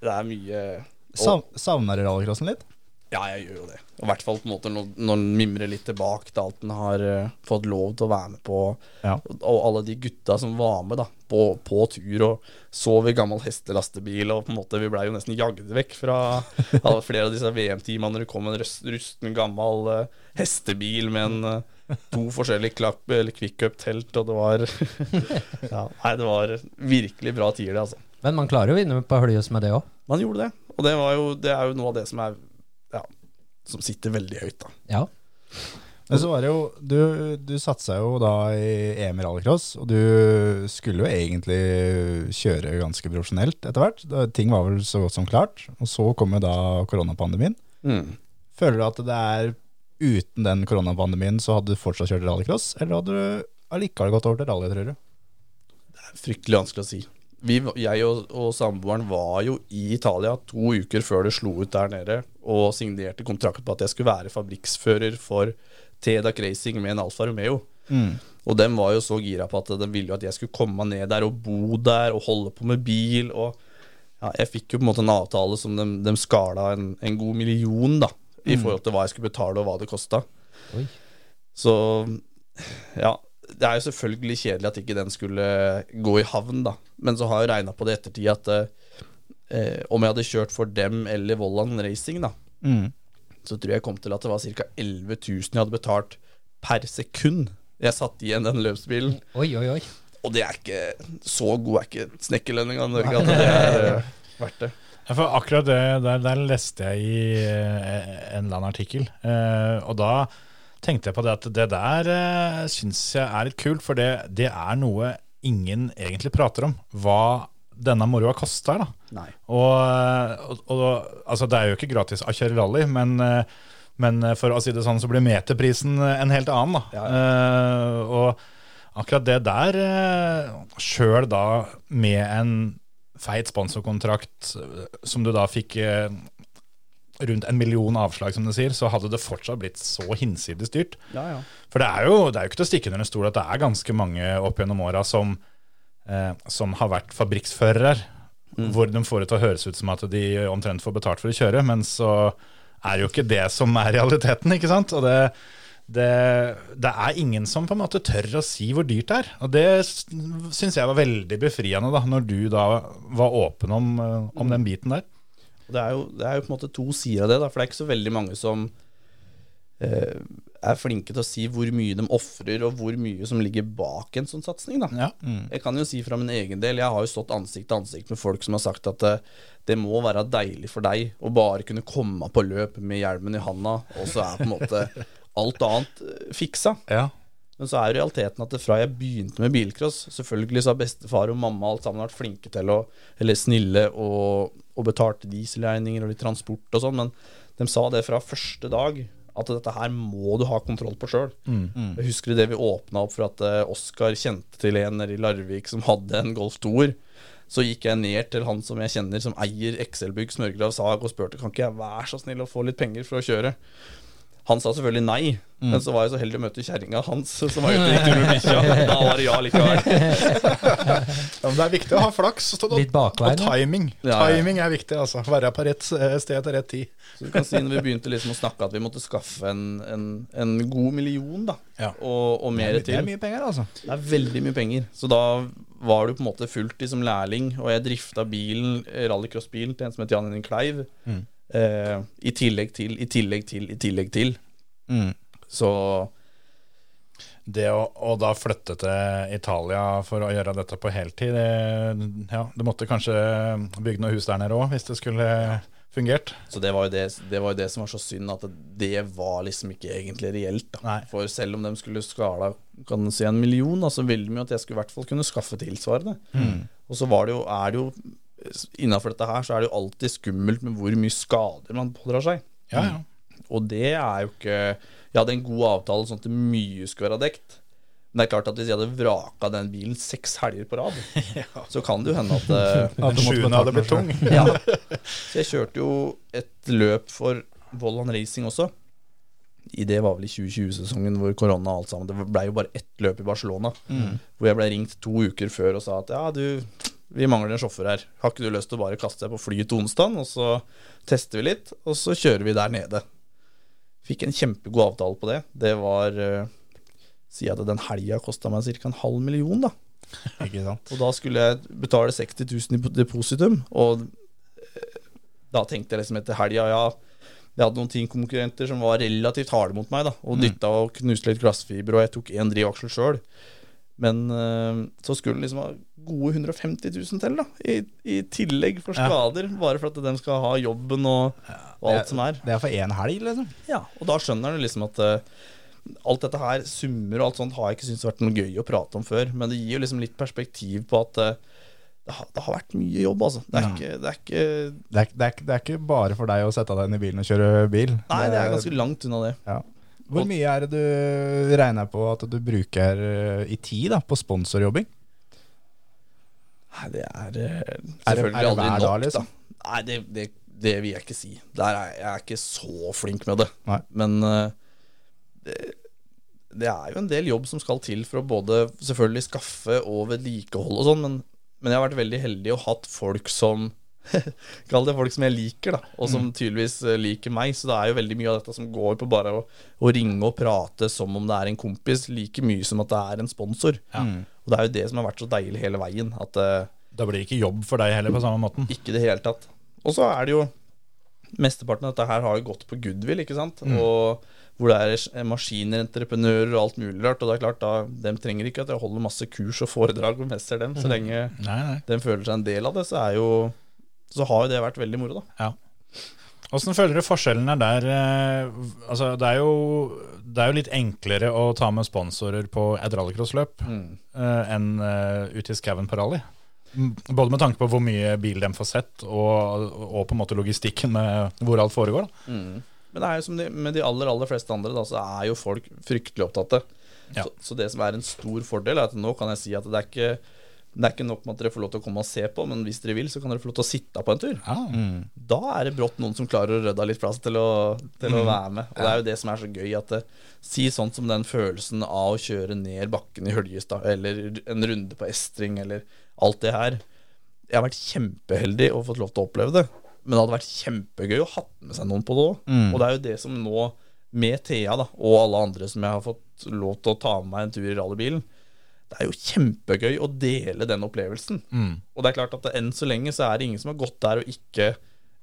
det er mye og, Sav, savner du rallycrossen litt? Ja, jeg gjør jo det. Og I hvert fall på en måte når, når den mimrer litt tilbake til alt den har eh, fått lov til å være med på. Ja. Og, og alle de gutta som var med da på, på tur og sov i gammel hestelastebil. Og på en måte vi blei jo nesten jagd vekk fra alle, flere av disse VM-teamene når det kom en røst, rusten gammel eh, hestebil med en, eh, to forskjellige klapp, eller kvikkup-telt, og det var ja, Nei, det var virkelig bra tider, det, altså. Men man klarer jo å vinne på Høljes med det òg. Man gjorde det, og det, var jo, det er jo noe av det som er ja, Som sitter veldig høyt, da. Ja. Men så var det jo, du, du satsa jo da i EM i rallycross, og du skulle jo egentlig kjøre ganske profesjonelt etter hvert. Da, ting var vel så godt som klart. Og så kom jo da koronapandemien. Føler du at det er uten den koronapandemien så hadde du fortsatt kjørt rallycross, eller hadde du allikevel gått over til rally, tror du? Fryktelig vanskelig å si. Vi, jeg og, og samboeren var jo i Italia to uker før det slo ut der nede, og signerte kontrakt på at jeg skulle være fabrikksfører for Tedac Racing med en Alfa Romeo. Og dem var jo så gira på at de ville jo at jeg skulle komme ned der og bo der og holde på med bil. og ja, Jeg fikk jo på en måte en avtale som de, de skala en, en god million da, i forhold til hva jeg skulle betale og hva det kosta. Oi. Så ja, det er jo selvfølgelig kjedelig at ikke den skulle gå i havn, da. Men så har jeg regna på det i ettertid at eh, om jeg hadde kjørt for dem eller Vollan Racing, da, så tror jeg jeg kom til at det var ca. 11 000 jeg hadde betalt per sekund jeg satt igjen den løpsbilen. Oi, oi, oi. Og det er ikke så god er ikke snekkerlønninga i Norge at det er eh, verdt det. Ja, For akkurat det der, der leste jeg i eh, en eller annen artikkel. eh, og da tenkte jeg på det at det der uh, syns jeg er litt kult, for det, det er noe ingen egentlig prater om. Hva denne moroa koster, da. Nei. Og, og, og altså, det er jo ikke gratis å kjøre rally, men, eh, men for å si det sånn, så blir meterprisen en helt annen, da. Eh, og akkurat det der, uh, sjøl da med en feit sponsorkontrakt eh, som du da fikk eh, rundt en million avslag, som du sier, så hadde det fortsatt blitt så hinsides dyrt. Ja, ja. For det er jo, det er jo ikke til å stikke under en stol at det er ganske mange opp gjennom åra som, eh, som har vært fabrikksførere, hvor de får det til å høres ut som at de omtrent får betalt for å kjøre, men så er det jo ikke det som er realiteten, ikke sant? Og det, det, det er ingen som på en måte tør å si hvor dyrt det er. Og det syns jeg var veldig befriende, da, når du da var åpen om, eh, om den biten der. Og det er, jo, det er jo på en måte to sider av det, da, for det er ikke så veldig mange som eh, er flinke til å si hvor mye de ofrer, og hvor mye som ligger bak en sånn satsing. da. Ja. Jeg kan jo si fra min egen del, jeg har jo stått ansikt til ansikt med folk som har sagt at eh, det må være deilig for deg å bare kunne komme på løp med hjelmen i handa, og så er på en måte alt annet eh, fiksa. ja. Men så er jo realiteten at det fra jeg begynte med bilcross Selvfølgelig så har bestefar og mamma alt sammen vært flinke til å Eller snille og, og betalte dieselregninger og litt transport og sånn, men de sa det fra første dag at dette her må du ha kontroll på sjøl. Jeg husker det vi åpna opp for at eh, Oskar kjente til en nede i Larvik som hadde en Golf 2-er. Så gikk jeg ned til han som jeg kjenner, som eier XL-bygg smørgrav sag, og spurte kan ikke jeg være så snill å få litt penger for å kjøre. Han sa selvfølgelig nei, Mm. Men så var jeg så heldig å møte kjerringa hans, som var ute i tur med bikkja. Da var det ja likevel. Ja, men det er viktig å ha flaks og, Litt bakveien, og timing. Ja, ja. Timing er viktig, altså. Være på rett eh, sted til rett tid. Så du kan si når vi begynte liksom å snakke at vi måtte skaffe en, en, en god million, da. Ja. Og, og mer Det er til. mye penger, altså. Det er veldig mye penger. Så da var du på en måte fulltid som lærling, og jeg drifta bilen, eh, rallycrossbilen til en som het Jan Henning Kleiv. Mm. Eh, I tillegg til, i tillegg til, i tillegg til. Mm. Så Det å, å da flytte til Italia for å gjøre dette på heltid det, ja, Du måtte kanskje bygge noe hus der nede òg, hvis det skulle fungert. Så det var, jo det, det var jo det som var så synd, at det var liksom ikke egentlig reelt. Da. Nei. For selv om de skulle skala kan du si en million, da, så ville de jo at jeg skulle i hvert fall kunne skaffe tilsvarende. Og så var det jo, er det jo Innafor dette her så er det jo alltid skummelt med hvor mye skader man pådrar seg. Ja, ja. Og det er jo ikke Jeg hadde en god avtale sånn at mye skulle være dekt. Men det er klart at hvis jeg hadde vraka den bilen seks helger på rad, så kan det jo hende at eh, Den sjuende hadde blitt tung. ja. Så jeg kjørte jo et løp for Vollan Racing også. I det var vel i 2020-sesongen hvor korona og alt sammen. Det blei jo bare ett løp i Barcelona. Mm. Hvor jeg blei ringt to uker før og sa at ja, du, vi mangler en sjåfør her. Har ikke du lyst til å bare kaste deg på flyet til onsdag, og så tester vi litt, og så kjører vi der nede. Fikk en kjempegod avtale på det. Det var eh, Si at den helga kosta meg ca. en halv million, da. Ikke sant. Og da skulle jeg betale 60 000 i depositum, og eh, da tenkte jeg liksom etter helga, ja Jeg hadde noen teamkonkurrenter som var relativt harde mot meg, da, og dytta og knuste litt glassfiber, og jeg tok én drivaksel sjøl. Men eh, så skulle det liksom ha gode 150 000 til, da, i, i tillegg for skader, bare for at de skal ha jobben og, og alt som er. Det er for én helg, liksom. Ja, og da skjønner du liksom at eh, alt dette her, summer og alt sånt, har jeg ikke syntes vært noe gøy å prate om før. Men det gir jo liksom litt perspektiv på at eh, det, har, det har vært mye jobb, altså. Det er, ikke, det er ikke Det er, det, er, det er ikke bare for deg å sette deg inn i bilen og kjøre bil. Nei, det er ganske langt unna det. ja. Hvor mye er det du regner på at du bruker eh, i tid da, på sponsorjobbing? Nei, det er eh, Er det- er det selvfølgelig aldri hver nok, dag, liksom? da. Nei, det, det, det vil jeg ikke si. Der er, jeg er ikke så flink med det. Nei. Men eh, det, det er jo en del jobb som skal til for å både selvfølgelig skaffe og vedlikeholde og sånn, men, men jeg har vært veldig heldig og hatt folk som Kall det folk som jeg liker, da, og som tydeligvis eh, liker meg. Så det er jo veldig mye av dette som går på bare å, å ringe og prate som om det er en kompis, like mye som at det er en sponsor. Og det er jo det som har vært så deilig hele veien. At eh, Da blir det ikke jobb for deg heller, på samme måten. ikke i det hele tatt. Og så er det jo Mesteparten av dette her har jo gått på goodwill, ikke sant. Og hvor det er maskiner, entreprenører og alt mulig rart. Og det er klart, da, dem trenger ikke at jeg holder masse kurs og foredrag og messer dem. Så lenge Nei, nei. de føler seg en del av det, så er jo Så har jo det vært veldig moro, da. Ja. Åssen føler du forskjellen er der? eh, Altså, det, er jo, det er jo litt enklere å ta med sponsorer på et rallycrossløp Mm. eh, enn eh, ute i skauen på rally. M- Både med tanke på hvor mye bil de får sett, og, og på en måte logistikken med hvor alt foregår. Da. Men det er jo som de, med de aller, aller fleste andre, da, så er jo folk fryktelig opptatte. Ja. Så, så det som er en stor fordel, er at nå kan jeg si at det er ikke det er ikke nok med at dere får lov til å komme og se på, men hvis dere vil, så kan dere få lov til å sitte på en tur. Ja. da er det brått noen som klarer å rydde av litt plass til å, til å være med. Og det er jo det som er så gøy, at det, si sånn som den følelsen av å kjøre ned bakken i Høljestad, eller en runde på Estring, eller alt det her. Jeg har vært kjempeheldig og fått lov til å oppleve det, men det hadde vært kjempegøy å hatt med seg noen på det òg. Og det er jo det som nå, med Thea da, og alle andre som jeg har fått lov til å ta med meg en tur i rallybilen, det er jo kjempegøy å dele den opplevelsen. Og det er klart at det, enn så lenge så er det ingen som har gått der og ikke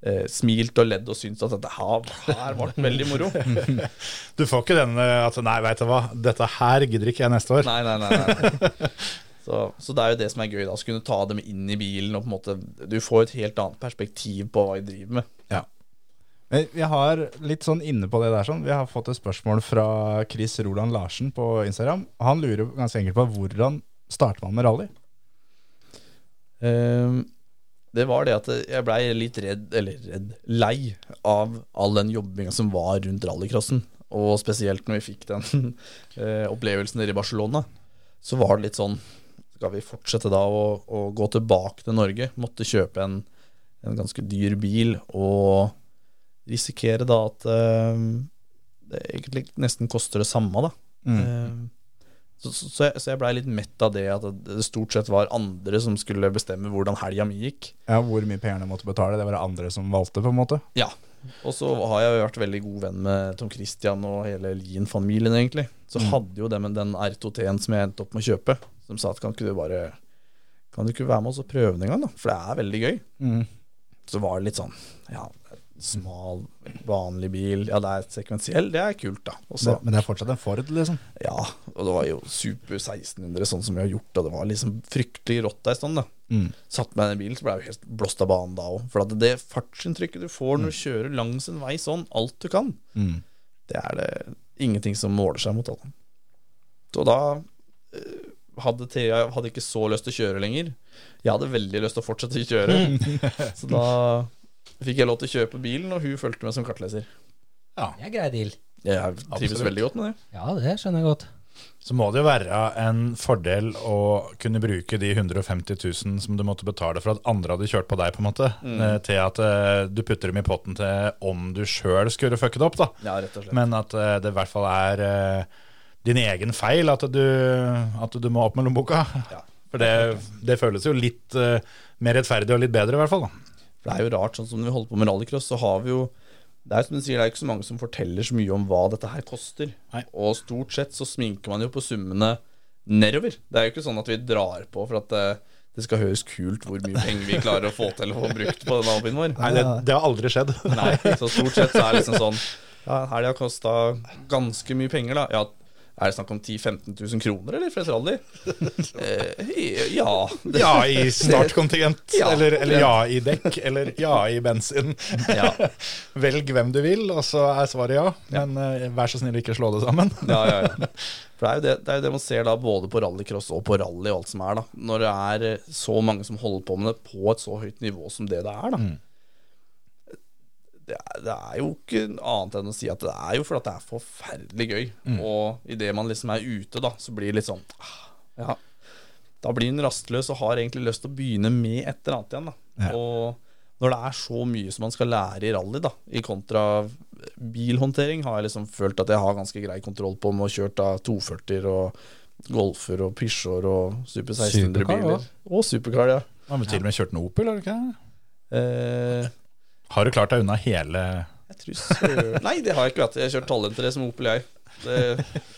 eh, smilt og ledd og syntes at dette her, her ble veldig moro. nei, Du får ikke den eh, at Nei, veit du hva, dette her gidder ikke jeg neste år. nei, nei. nei. Så, så det er jo det som er gøy, da. Å kunne ta dem inn i bilen og på en måte Du får et helt annet perspektiv på hva jeg driver med. Men Vi har litt sånn inne på det der sånn. Vi har fått et spørsmål fra Chris Roland Larsen på Instagram. Han lurer ganske enkelt på hvordan starter man med rally? Ehm, det var det at jeg blei litt redd, eller redd, lei av all den jobbinga som var rundt rallycrossen. Og spesielt når vi fikk den eh, opplevelsen nede i Barcelona, så var det litt sånn Skal vi fortsette da å, å gå tilbake til Norge? Måtte kjøpe en, en ganske dyr bil og risikere da at eh, det egentlig nesten koster det samme, da. Mm. Eh, Så, så, så jeg, så jeg blei litt mett av det at det stort sett var andre som skulle bestemme hvordan helga mi gikk. Ja, Hvor mye penger de måtte betale, det var det andre som valgte, på en måte. Ja. Og så har jeg jo vært veldig god venn med Tom Christian og hele Lien-familien, egentlig. Så hadde jo det med den R2T-en som jeg endte opp med å kjøpe, som sa at kan ikke du bare Kan du ikke være med oss og prøve den en gang, da? For det er veldig gøy. Mm. Så var det litt sånn Ja, smal, vanlig bil. Ja, det er sekvensiell. Det er kult, da. Og så Men det er fortsatt en Ford, liksom. Ja, og det var jo super 1600 sånn som vi har gjort, og det var liksom fryktelig rått ei stund, da. Mm. Satt meg i den bilen, så ble jeg jo helt blåst av banen da òg. For at det fartsinntrykket du får når du kjører langs en vei sånn, alt du kan, Mm. det er det ingenting som måler seg mot alle. Så da eh, hadde Thea jeg hadde ikke så lyst til å kjøre lenger. Jeg hadde veldig lyst til å fortsette å kjøre. så da fikk jeg lov til å kjøpe bilen, og hun fulgte meg som kartleser. Det er grei deal. Jeg trives Absolutt. veldig godt med det. Ja, det skjønner jeg godt. Så må det jo være en fordel å kunne bruke de 150 000 som du måtte betale for at andre hadde kjørt på deg, på en måte, eh, til at eh, du putter dem i potten til om du sjøl skulle fucket opp, da. Ja, rett og slett. Men at eh, det i hvert fall er eh, din egen feil at du, at du må opp med lommeboka. Ja. For det, det føles jo litt eh, mer rettferdig og litt bedre, i hvert fall. da. For det er jo rart, sånn som når vi holder på med rallycross, så har vi jo Det er jo som du sier, det er jo ikke så mange som forteller så mye om hva dette her koster. Nei. Og stort sett så sminker man jo på summene nedover. Det er jo ikke sånn at vi drar på for at eh, det skal høres kult hvor mye penger vi klarer å få til å få brukt på den albuen vår. Nei, det, det har aldri skjedd. Nei, så stort sett så er det liksom sånn Ja, en helg har kosta ganske mye penger, da. Ja, er det snakk om 10 000-15 000 kroner, eller, for et rally? Eh, ja. Det, Ja i startkontingent, Ja. eller, eller ja i dekk, eller ja i bensin. ja. Velg hvem du vil, og så er svaret ja. Men eh, vær så snill, ikke slå det sammen. ja, ja, ja. For det er, jo det, det er jo det man ser da både på rallycross og på rally og alt som er, da. Når det er eh, så mange som holder på med det på et så høyt nivå som det det er, da. Det er, det er jo ikke annet enn å si at det er jo fordi at det er forferdelig gøy. Og idet man liksom er ute, da, så blir det litt sånn ah, Ja. Da blir en rastløs og har egentlig lyst til å begynne med et eller annet igjen, da. Og når det er så mye som man skal lære i rally, da, i kontra bilhåndtering, har jeg liksom følt at jeg har ganske grei kontroll på med å ha kjørt da 240-er og golfer og Peugeot og Super 1600-biler. Supercar også. Og supercar, ja. Har du til og med kjørt en Opel? Eller ikke? Eh, Har du klart deg unna hele jeg tror søren Nei, det har jeg ikke vært. Jeg har kjørt tallentere som Opel, jeg. Det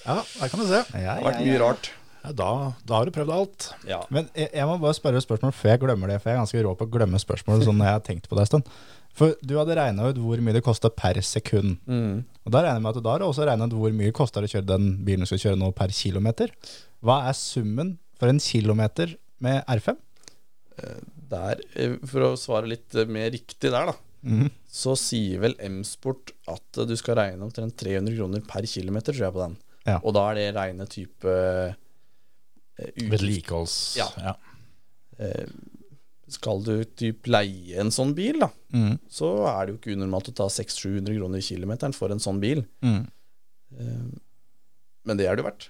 Ja, der kan du se. har vært mye rart. Ja, da, da har du prøvd alt. Ja. Men jeg, jeg må bare spørre et spørsmål før jeg glemmer det, for jeg er ganske rå på å glemme spørsmål. Sånn når jeg har tenkt på det en stund For du hadde regna ut hvor mye det kosta per sekund. Mm. Og da regner jeg med at du da har også regna ut hvor mye det koster å kjøre den bilen du skal kjøre nå, per kilometer. Hva er summen for en kilometer med R5? Der, eh, for å svare litt eh, mer riktig der, da, Mhm. så sier vel M-Sport at eh, du skal regne omtrent 300 kroner per kilometer, tror jeg, på den. Ja. Og da er det reine type eh, ut- Vedlikeholds... Ja. Ja. eh, Skal du typ leie en sånn bil, da, Mhm. så er det jo ikke unormalt å ta 600-700 kroner i kilometeren for en sånn bil. Mhm. Eh, Men det er det jo verdt.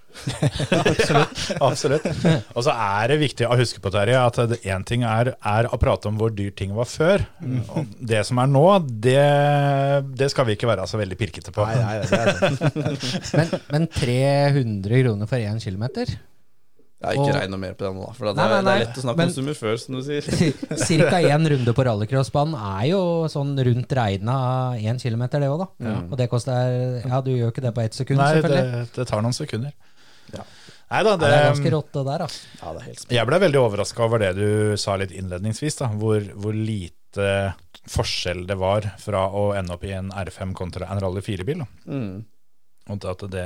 Absolutt. Og så er det viktig å huske på Terje, at én ting er, er å prate om hvor dyr ting var før. Mm. Og det som er nå, det, det skal vi ikke være så veldig pirkete på. Men, men 300 kroner for én kilometer? Jeg har ikke Og- regn noe mer på det nå, da. For det, Nei, er- nei, det nei, er lett å snakke men- om summer før, som du sier. Cirka én runde på rallycrossbanen er jo sånn rundt regna én kilometer, det òg, da. Og det koster Ja, du gjør ikke det på ett sekund, Nei, det, selvfølgelig. det tar noen sekunder. Ja. Nei da, Det, det, det er ganske rått, det der, altså. Ja, det er helt Jeg ble veldig overraska over det du sa litt innledningsvis, da. Hvor, hvor lite forskjell det var fra å ende opp i en R5 kontra en Rally 4-bil. da. Mm. Og at det,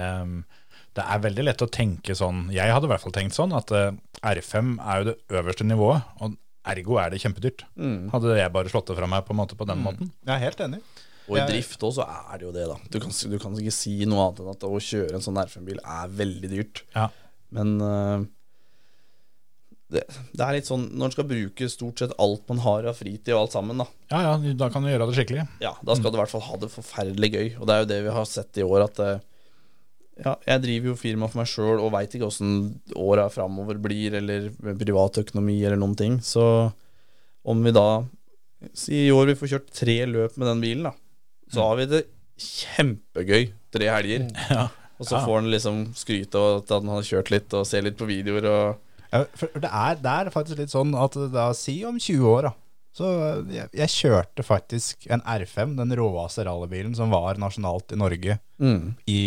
det er veldig lett å tenke sånn, jeg hadde i hvert fall tenkt sånn, at eh, R5 er jo det øverste nivået, og ergo er det kjempedyrt. Mm. Hadde jeg bare slått det fra meg på, en måte på den måten. Jeg er helt enig. Og i Jeg- drift også er det jo det, da. Du kan, du kan ikke si noe annet enn at å kjøre en sånn R5-bil er veldig dyrt. Ja. Men øh, det, det er litt sånn når en skal bruke stort sett alt man har av fritid og alt sammen, da. ja ja, da kan du gjøre det skikkelig. Ja, da skal du i hvert fall ha det forferdelig gøy. Og det er jo det vi har sett i år, at øh, ja, jeg driver jo firma for meg sjøl og veit ikke åssen åra framover blir, eller privatøkonomi eller noen ting. Så om vi da Si i år vi får kjørt tre løp med den bilen, da. Så har vi det kjempegøy tre helger. Og så får han liksom skryte av at han har kjørt litt og ser litt på videoer. Og Ja, for det er, det er faktisk litt sånn at da, si om 20 år, da. Så jeg, jeg kjørte faktisk en R5, den råeste rallybilen som var nasjonalt i Norge, i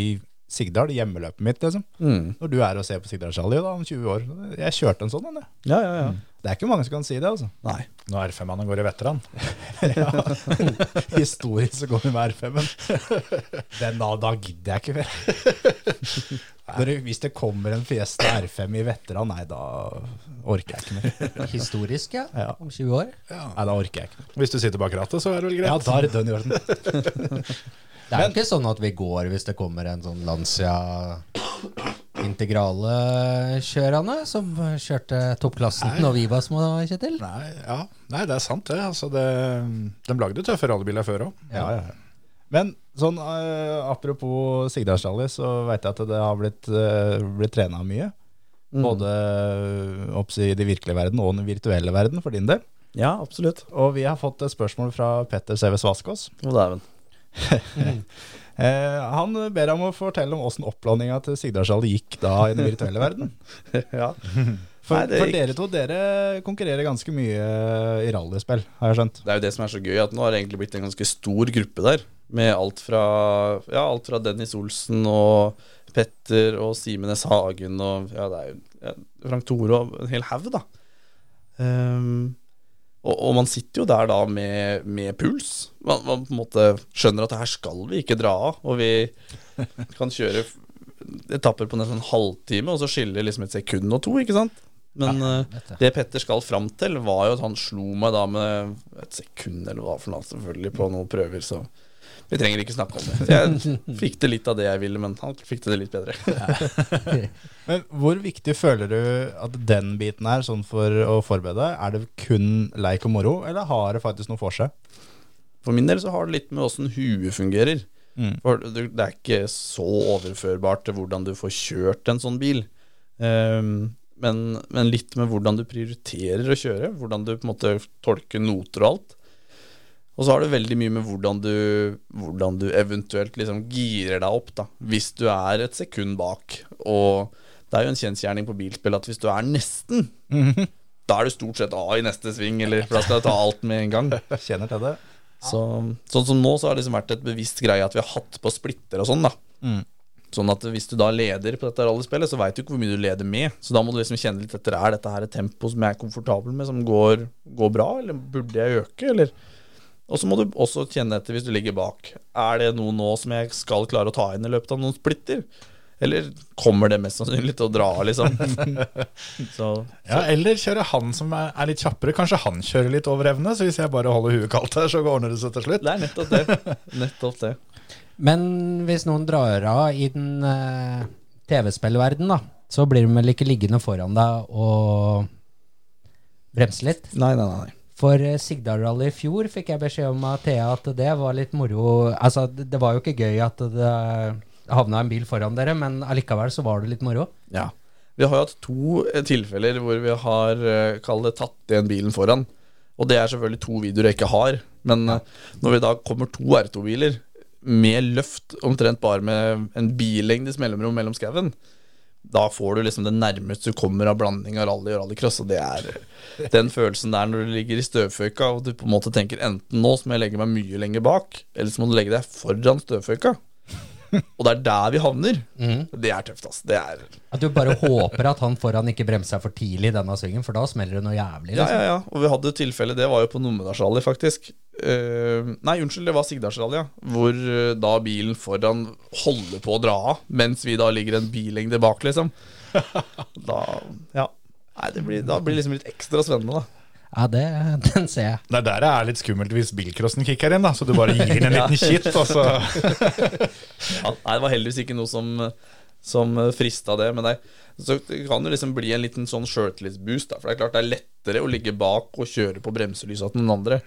Sigdal, hjemmeløpet mitt, liksom. Mm. Når du er og ser på Sigdalsrally da, om 20 år. Jeg kjørte en sånn en, jeg. Ja, ja, ja. Det er ikke mange som kan si det, altså. Nei. Når R5-mannen går i veteran. Ja. Historisk så går vi med R5-en. Den da, da gidder jeg ikke mer. Når det- Hvis det kommer en Fiesta R5 i veteran, nei, da orker jeg ikke mer. Historisk, ja. Ja. Om 20 år. Nei, da orker jeg ikke mer. Hvis du sitter bak rattet, så er det vel greit. Ja, da er det dønn i orden. Det er jo ikke sånn at vi går hvis det kommer en sånn Lancia Integrale kjørende, som kjørte toppklassen når vi var små, Kjetil. Nei, ja. Nei, det er sant det. Altså, det de lagde tøffe rallybiler før òg. Ja, ja, ja. Men sånn eh, apropos Sigdalsrally, så veit jeg at det har blitt, uh, blitt trena mye. Mm. Både eh, oppsi i den virkelige verden og den virtuelle verden, for din del. Ja, absolutt. Og vi har fått et spørsmål fra Petter Seves Vaskås. Å, dæven. Eh, han ber deg om å fortelle om åssen opplåninga til Sigdalsrally gikk da i den virtuelle verden. ja. For, Nei, det for gikk- dere to, dere konkurrerer ganske mye eh, i rallyspill, har jeg skjønt. Det er jo det som er så gøy, at nå har det egentlig blitt en ganske stor gruppe der. Med alt fra, ja, alt fra Dennis Olsen og Petter og Simen S. Hagen og ja, det er jo, ja, Frank Tore og en hel haug, da. Ehm, og, og man sitter jo der da med, med puls. Man, man på en måte skjønner at det her skal vi ikke dra av. Og vi kan kjøre f- etapper på nesten en halvtime, og så skiller liksom et sekund og to, ikke sant? Men eh, det Petter skal fram til, var jo at han slo meg da med et sekund eller hva for noe, selvfølgelig, på noen prøver, så vi trenger ikke snakke om det. Jeg fikk det litt av det jeg ville, men han fikk det litt bedre. Men hvor viktig føler du at den biten er, sånn for å forberede deg? Er det kun leik og moro, eller har det faktisk noe for seg? For min del så har det litt med åssen huet fungerer. Mm. For det det er ikke så overførbart til hvordan du får kjørt en sånn bil. Ehm, men, men litt med hvordan du prioriterer å kjøre, hvordan du på en måte tolker noter og alt. Og så har det veldig mye med hvordan du, hvordan du eventuelt liksom girer deg opp, da. Hvis du er et sekund bak. Og det er jo en kjensgjerning på bilspill at hvis du er nesten, da er du stort sett A i neste sving, eller for da skal du ta alt med en gang. Kjenner til det. Så, sånn som nå, så har det liksom vært et bevisst greie at vi har hatt på splitter og sånn, da. Mm. Sånn at hvis du da leder på dette rallyspillet, så veit du ikke hvor mye du leder med. Så da må du liksom kjenne litt etter er dette her et tempo som jeg er komfortabel med, som går, går bra, eller burde jeg øke, eller Og så må du også kjenne etter hvis du ligger bak. Er det noe nå som jeg skal klare å ta inn i løpet av noen splitter? Eller kommer det mest sannsynlig til å dra, liksom? så Ja, eller kjøre han som er, er litt kjappere. Kanskje han kjører litt over evne. Så hvis jeg bare holder huet kaldt her, så ordner det seg til slutt. det er nettopp det. Nettopp det. Men hvis noen drar av i den eh, TV-spillverden, da, så blir de vel ikke liggende foran deg og bremse litt? Nei, nei, nei. For eh, Sigdal-rally i fjor fikk jeg beskjed om av Thea at det var litt moro Altså, det det var jo ikke gøy at det havna en bil foran dere, men allikevel så var det litt moro. Ja. Vi har jo hatt to eh, tilfeller hvor vi har eh, kall det tatt igjen bilen foran. Og det er selvfølgelig to videoer jeg ikke har. Men eh, når vi da kommer to R2-biler med løft, omtrent bare med en billengdes mellomrom mellom skauen, da får du liksom det nærmeste du kommer av blanding av rally og rallycross. Og det er den følelsen der når du ligger i støvføyka og du på en måte tenker enten nå så må jeg legge meg mye lenger bak, eller så må du legge deg foran støvføyka. Og det er der vi havner. Det er tøft, ass. Det er At du bare håper at han foran ikke bremser for tidlig i denne svingen, for da smeller det noe Ja, jævlig. Liksom. ja, ja. Og vi hadde et tilfelle, det var jo på Numedalsrally, faktisk. Eh, nei, unnskyld, det var Sigdalsrally, ja. Hvor eh, da bilen foran holder på å dra av, mens vi da ligger en billengde bak, liksom. Da Ja. Nei, det blir, da blir det liksom litt ekstra spennende, da. Ja, det, den ser jeg. Det er der det er litt skummelt hvis bilcrossen kicker inn, da. Så du bare gir den en liten kitt, og så Ja, nei, det var heldigvis ikke noe som, som frista det, men det, så det kan jo liksom bli en liten sånn sjøltillitsboost, da. For det er klart det er lettere å ligge bak og kjøre på bremselysa til noen andre.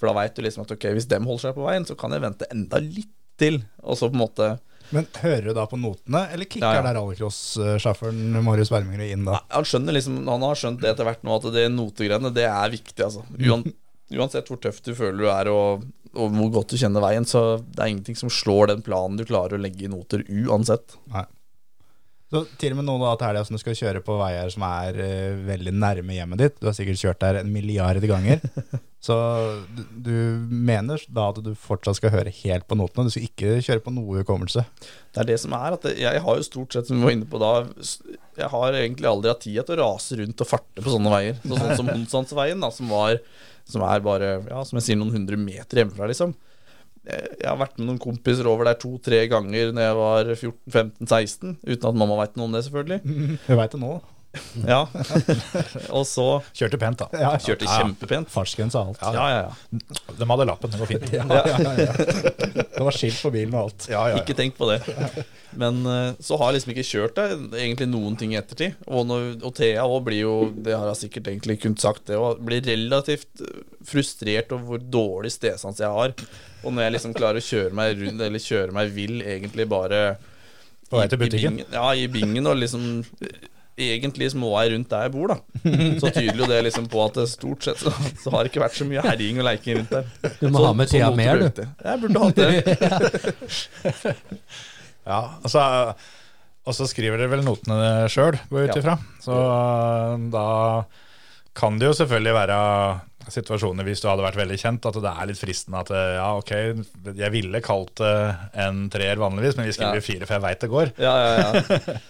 For da veit du liksom at ok, hvis dem holder seg på veien, så kan jeg vente enda litt til, og så på en måte Men hører du da på notene, eller kicker Ja, ja. der rallycross-sjåføren Marius Wermingrud inn da? han skjønner liksom Han har skjønt det etter hvert nå, at det notegreiene, det er viktig, altså. Uan, uansett hvor tøft du føler du er, og og hvor godt du kjenner veien, så det er ingenting som slår den planen du klarer å legge i noter uansett. Så til og med noen av til helga som du skal kjøre på veier som er eh, veldig nærme hjemmet ditt. Du har sikkert kjørt der en milliard ganger. Så du, du mener da at du fortsatt skal høre helt på notene? Du skal ikke kjøre på noe hukommelse? Det er det som er, at jeg har jo stort sett, som vi var inne på da, s- jeg har egentlig aldri hatt tid til å rase rundt og farte på sånne veier. Så, sånn som Honsandsveien, da, som, var, som er bare, ja, som jeg sier, noen hundre meter hjemmefra, liksom. Eh, Jeg har vært med noen kompiser over der to-tre ganger når jeg var 14-15-16, uten at mamma veit noe om det, selvfølgelig. Du veit det nå. Ja. Og så Kjørte pent, da. Ja, kjørte jeg kjempepent. Fartsgrense og alt. Ja, ja, ja. De hadde lappen, det går fint. Ja, ja, ja, ja. Det var skilt på bilen og alt. Ikke tenk på det. Men eh, så har jeg liksom ikke kjørt der egentlig noen ting i ettertid. Og, når, og Thea òg blir jo, det har jeg sikkert egentlig kunnet sagt, det også, blir relativt eh, frustrert over hvor dårlig stedsans jeg har. Og når jeg liksom klarer å kjøre meg rundt, eller kjøre meg vill, egentlig bare På vei i- til butikken. I bingen, ja, i bingen, og liksom Egentlig må jeg rundt der jeg bor, da. Så tyder jo det liksom på at det stort sett så, så har det ikke vært så mye herjing og leiking rundt der. Du må Så- ha med så tida noter mer, brukte du. jeg. Jeg burde hatt det. Ja, altså, og så skriver dere vel notene sjøl, går jeg ut Ja. ifra. Så eh, da kan det jo selvfølgelig være situasjoner hvis du hadde vært veldig kjent, at det er litt fristende at eh, ja, ok, jeg ville kalt det en treer vanligvis, men vi Ja. skriver fire, for jeg veit det går. Ja, ja, ja.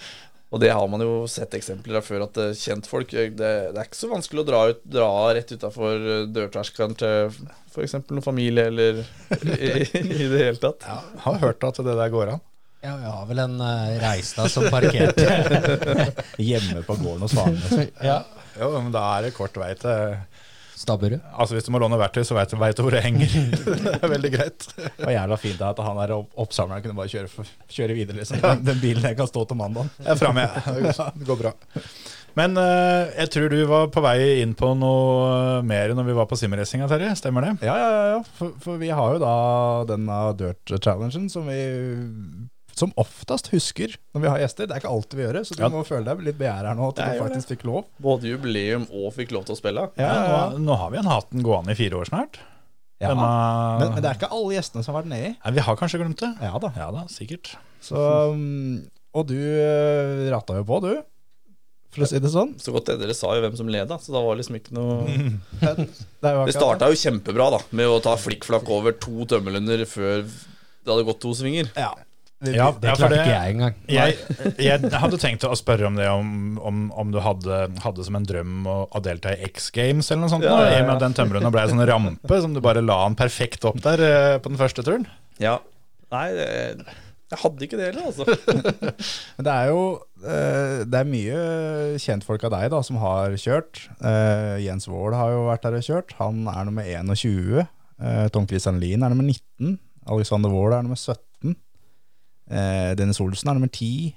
Og det har man jo sett eksempler av før, at eh, kjentfolk eh, Det, det er ikke så vanskelig å dra, ut, dra rett utafor eh, dørterskelen til f.eks. noen familie, eller i, i det hele tatt. Ja, har hørt at det der går an. Ja, vi har vel en uh, Reistad som parkerte. Hjemme på gården hos faren. liksom. ja. Jo, men da er det kort vei til Stabburud. Altså Hvis du må låne verktøy, så veit du hvor det henger. Det er veldig greit. Det var jævla fint at han der opp- oppsamleren kunne bare kjøre, for- kjøre videre. Liksom. Den, den bilen der kan stå til mandagen. Jeg er framme, jeg. Det går bra. Men eh, jeg tror du var på vei inn på noe eh, mer når vi var på simracinga, Terje. Stemmer det? Ja, ja, ja, ja. For, for vi har jo da denne dirt challengen som vi som oftest husker når vi har gjester. Det er ikke alltid vi gjør det, så du Ja. må føle deg litt begjæret her nå til Jeg du gjør faktisk fikk lov. Både jubileum og fikk lov til å spille. Ja, ja, ja. Nå, nå har vi en haten gående i fire år snart. Ja. Denne, Men, men det er ikke alle gjestene som har vært nedi. Nei, vi har kanskje glemt det? Ja da. Ja da, sikkert. Så, um, og du eh, ratta jo på, du. For å si det sånn. Så godt det dere sa jo hvem som leda, så da var liksom ikke noe Det er jo Det akkurat det. starta jo kjempebra, da, med å ta flikkflakk over to tømmerlunder før det hadde gått to svinger. Ja. Det, Ja, Det ja, for klarte det- ikke jeg engang. Jeg, jeg hadde tenkt å spørre om det, om, om, om du hadde, hadde som en drøm å, å delta i X Games eller noe sånt. Ja, nå, ja, I og ja. med at den tømmerhunden ble en sånn rampe som du bare la han perfekt opp der eh, på den første turen. Ja. Nei, det- jeg hadde ikke det heller, altså. Men det er jo eh, Det er mye kjentfolk av deg da som har kjørt. Eh, Jens Wold har jo vært der og kjørt. Han er nummer 21. Eh, Tom Christian Lien er nummer 19. Alexander Wold er nummer 17. Eh, Dennis Olsen er nummer 10.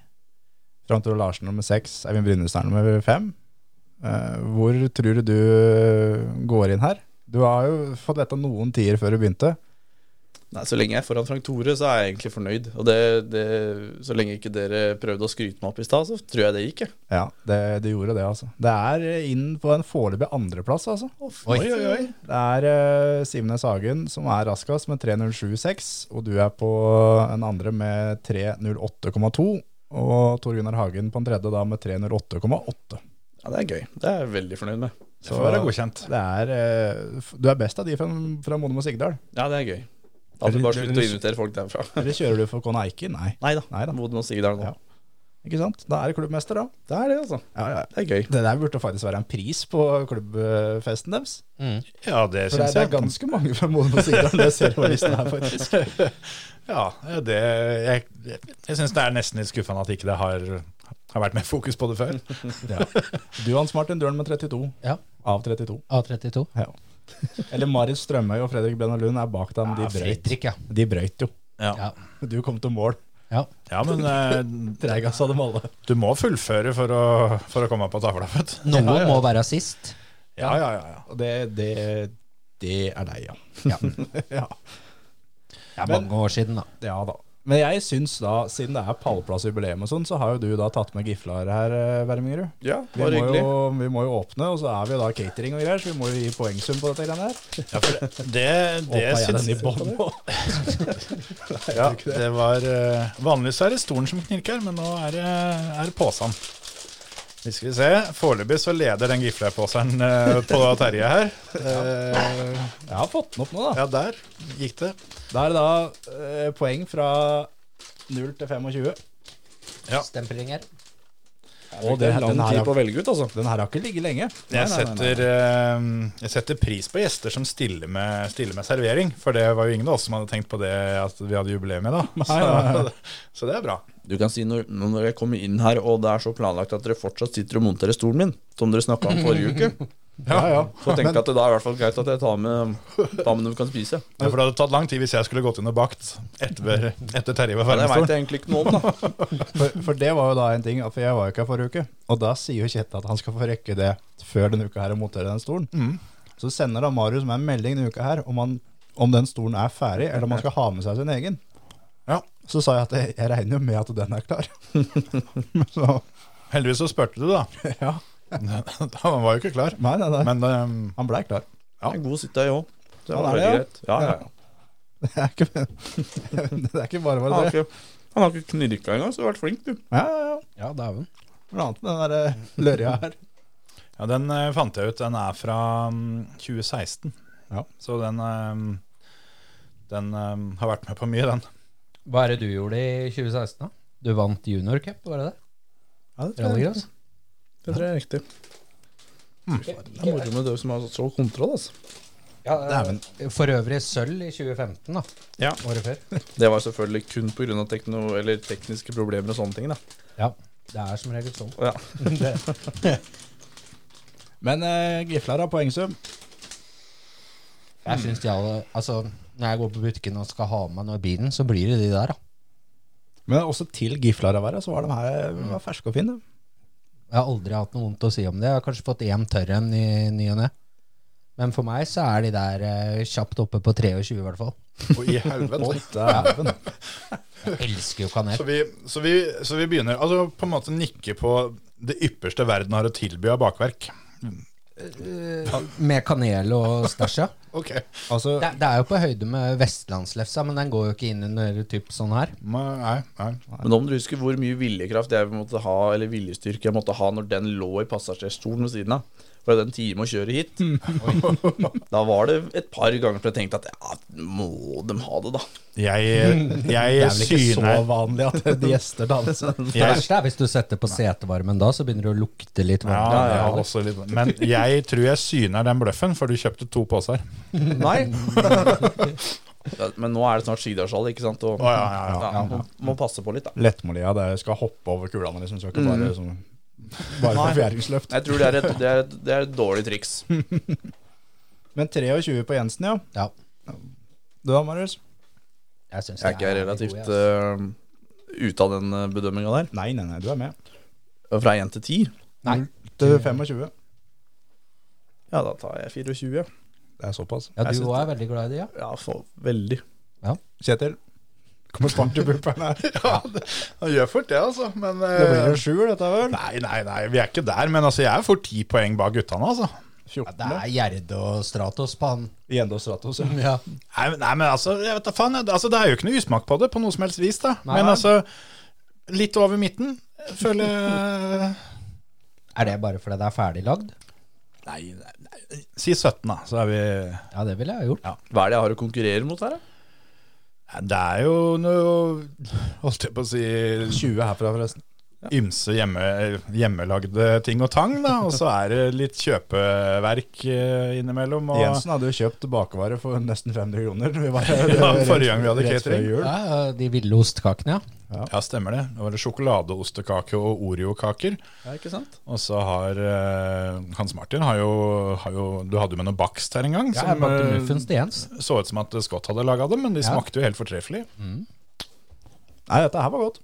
Frank Tore Larsen nummer 6. Eivind Brynesen er nummer 5. Eh, hvor tror du du går inn her? Du har jo fått vite noen tider før du begynte. Nei, Så lenge jeg er foran Frank Tore, så er jeg egentlig fornøyd. Og det, det, Så lenge ikke dere prøvde å skryte meg opp i stad, så tror jeg det gikk. Jeg. Ja, det, det gjorde det, altså. Det er inn på en foreløpig andreplass, altså. Oi. Det er eh, Simnes Hagen som er raskest med 3.07,6, og du er på en andre med 3.08,2. Og Tor Gunnar Hagen på en tredje da med 3.08,8. Ja, Det er gøy. Det er jeg veldig fornøyd med. Det får være godkjent. Det er, eh, f- du er best av de fra, fra Modum og Sigdal. Ja, det er gøy. Da hadde vi bare Eller- sluttet å invitere folk derfra. Eller kjører du for Kona Eike? Nei. Nei da. Neida. Modum og Sigdal nå. Ja. Ikke sant? Da er det klubbmester, da. Det er det, altså. Det er gøy. Det der burde faktisk være en pris på klubbfesten deres. Mm. Ja, det For det, syns det jeg. er ganske mange fra Modum og Sigdal. Det ser du på listen her, faktisk. Ja, det, jeg, jeg, jeg syns det er nesten litt skuffende at ikke det har, har vært mer fokus på det før. Du, Hans Martin Døhlen med 32. Ja. Av 32. A32. Ja. Eller Marit Strømøy og Fredrik Brenna Lund er bak dem. De Ja, brøyt, Fredrik, ja. de brøyt jo. Ja. Du kom til mål. ja. Ja, men eh, Treigast av dem alle. du må fullføre for å, for å komme på tavla, vet du. Noen må være sist. Ja, ja, ja, ja. Og det, det, det er deg, ja. Ja. ja. Det er mange år siden, da. Ja da. Men jeg syns da, siden det er pallplassjubileum og sånn, så har jo du da tatt med giflaret her, eh, Wermingerud. Ja, Vi bare må, hyggelig. jo, vi må jo åpne, og så er vi jo da catering og greier, så vi må jo gi poengsum på dette greiene her. Ja, for det det, det Håper jeg syns den i bånd på. Ja, det var eh, Vanligvis er det stolen som knirker, men nå er det, er det posen. Vi skal vi se. Foreløpig så leder den gifleposeren uh, på Terje her. Eh, Jeg har fått den opp nå, da. ja, der gikk det. Da er det da eh, poeng fra 0 til 25. Stempelinger. Og det, den, her har, å velge ut, altså. den her har ikke ligget lenge. Jeg setter, eh, jeg setter pris på gjester som stiller med, stiller med servering, for det var jo ingen av oss som hadde tenkt på det at vi hadde jubileum i da. Så, så det er bra. Du kan si når, når jeg kommer inn her, og det er så planlagt at dere fortsatt sitter og monterer stolen min, som dere snakka om forrige uke, Ja, ja. så tenker jeg at det da er i hvert fall greit at jeg tar med, tar med noe vi kan spise. Ja, for det hadde tatt lang tid hvis jeg skulle gått inn og bakt etter, etter Terje var Men det ferdig med veit stolen. jeg egentlig ikke noe om, da. For, for det var jo da en ting, for jeg var jo ikke her forrige uke. Og da sier jo Kjetil at han skal få rekke det før denne uka her og montere den stolen. Så sender da Marius meg en melding denne uka her om, han, om den stolen er ferdig, eller om han skal ha med seg sin egen. Ja. Så sa jeg at jeg, jeg regner jo med at den er klar. så, Heldigvis så spurte du, da. ja. Han var jo ikke klar. Nei, nei, nei. Men ehm, han blei klar. Jeg er god å sitte her òg. Det Ja, var det veldig er greit. Ja, ja. ja. Det er ikke, det er ikke bare Han bare har det. ikke, han har ikke knirka engang, så du har vært flink, du. Ja, ja, ja. Ja, dæven. Noe annet med den der eh, lørja her. ja, den eh, fant jeg ut. Den er fra mm, 2016. Ja. Så den, ehm, den ehm, har vært med på mye, den. Hva er det du gjorde i 2016, da? Du vant juniorcup, var det det? Ja, det Rallycross? Det tror jeg er riktig. Det er moro med dere som har så kontroll, altså. Ja, eh, for øvrig sølv i 2015, da. Ja. Året før. Det var selvfølgelig kun pga. Tekno, eller tekniske problemer og sånne ting, da. Ja, det er som regel sånn. Ja. Men eh, Giflar har poengsum. Jeg synes de alle, altså, Når jeg går på butikken og skal ha med noe i bilen, så blir det de der, da. Men også til Giflar å være, så var de her de var ferske og fine. Jeg har aldri hatt noe vondt å si om det. Jeg har kanskje fått én tørr en i ny og ne. Men for meg så er de der eh, kjapt oppe på 23, i hvert fall. Og i helvete. Dæven. Jeg elsker jo kanel. Så vi, så, vi, så vi begynner altså på en måte nikke på det ypperste verden har å tilby av bakverk. Med kanel og stæsja. Ok. Altså, Det, det er jo på høyde med vestlandslefsa, men den går jo ikke inn under typ sånn her. Nei, nei. Men om du husker hvor mye viljekraft jeg måtte ha, eller viljestyrke jeg måtte ha når den lå i passasjerstolen ved siden av. For det er en time å kjøre hit. da var det et par ganger som jeg tenkte at ja, må de ha det, da. Jeg, det jeg er vel ikke så syner vanlig at de gjester danser. Det jeg, verste er hvis du setter på setevarmen da, så begynner det å lukte litt ja, varmt. jeg har også litt, Men jeg tror jeg syner den bløffen, for du kjøpte to poser. Nei. Ja, Men nå er det snart Skidalshallen, ikke sant. Og, Å, ja, ja, ja. må, må passe på litt, da. Lettmålia der skal hoppe over kulene, liksom. Skal Mm. ikke bare sånn bare Nei. på fjæringsløft. Jeg tror det er et, det er et, det er et dårlig triks. Men 23 på Jensen, ja. Ja, Du da, Marius? jeg synes Jeg er ikke veldig relativt god, jeg, altså. eh, ute av den bedømminga der. Nei, nei, nei, du er med. Fra 1 til 10, Nei. Til 25. ja da tar jeg 24. ja. Det er såpass. Ja, Jeg du synes òg er veldig glad i det, ja. Ja, for, veldig. Kjetil? Kommer svart i pupperen her. Ja, det, han gjør fort det, altså. Men Det blir eh, jo sjuer, dette vel? Nei, nei, nei, vi er ikke der. Men altså, jeg er fort ti poeng bak guttene, altså. ja det er Gjerde og Stratos på han. I Endo Stratos, ja. Ja. Nei, men- nei men altså, jeg vet da faen. jeg- Altså, det er jo ikke noe usmak på det på noe som helst vis, da. Nei, men nei. altså, litt over midten, jeg føler jeg Er det bare fordi det er ferdiglagd? Nei, nei, nei, si 17, da. Så er vi Ja, det ville jeg gjort. Hva er det jeg har å konkurrere mot her, da? Nei, Det er jo noe Holdt jeg på å si 20 herfra, forresten. ymse hjemme, hjemmelagde ting og tang, da. Og så er det litt kjøpeverk eh, innimellom. Og, Jensen hadde jo kjøpt bakevare for nesten 500 kroner. Vi var her, Ja, forrige gang vi hadde rett før catering. jul. Ja, ja, de ville ostekakene, ja. Ja, stemmer det. Det var det sjokoladeostekake og Oreo-kaker. Ja, ikke sant? Og så har eh, Hans Martin har jo, har jo Du hadde jo med noe bakst her en gang. ja jeg som bakte eh, muffins til Jens. så ut som at Scott hadde laga dem, men de Ja. smakte jo helt fortreffelig. Nei, dette her var godt.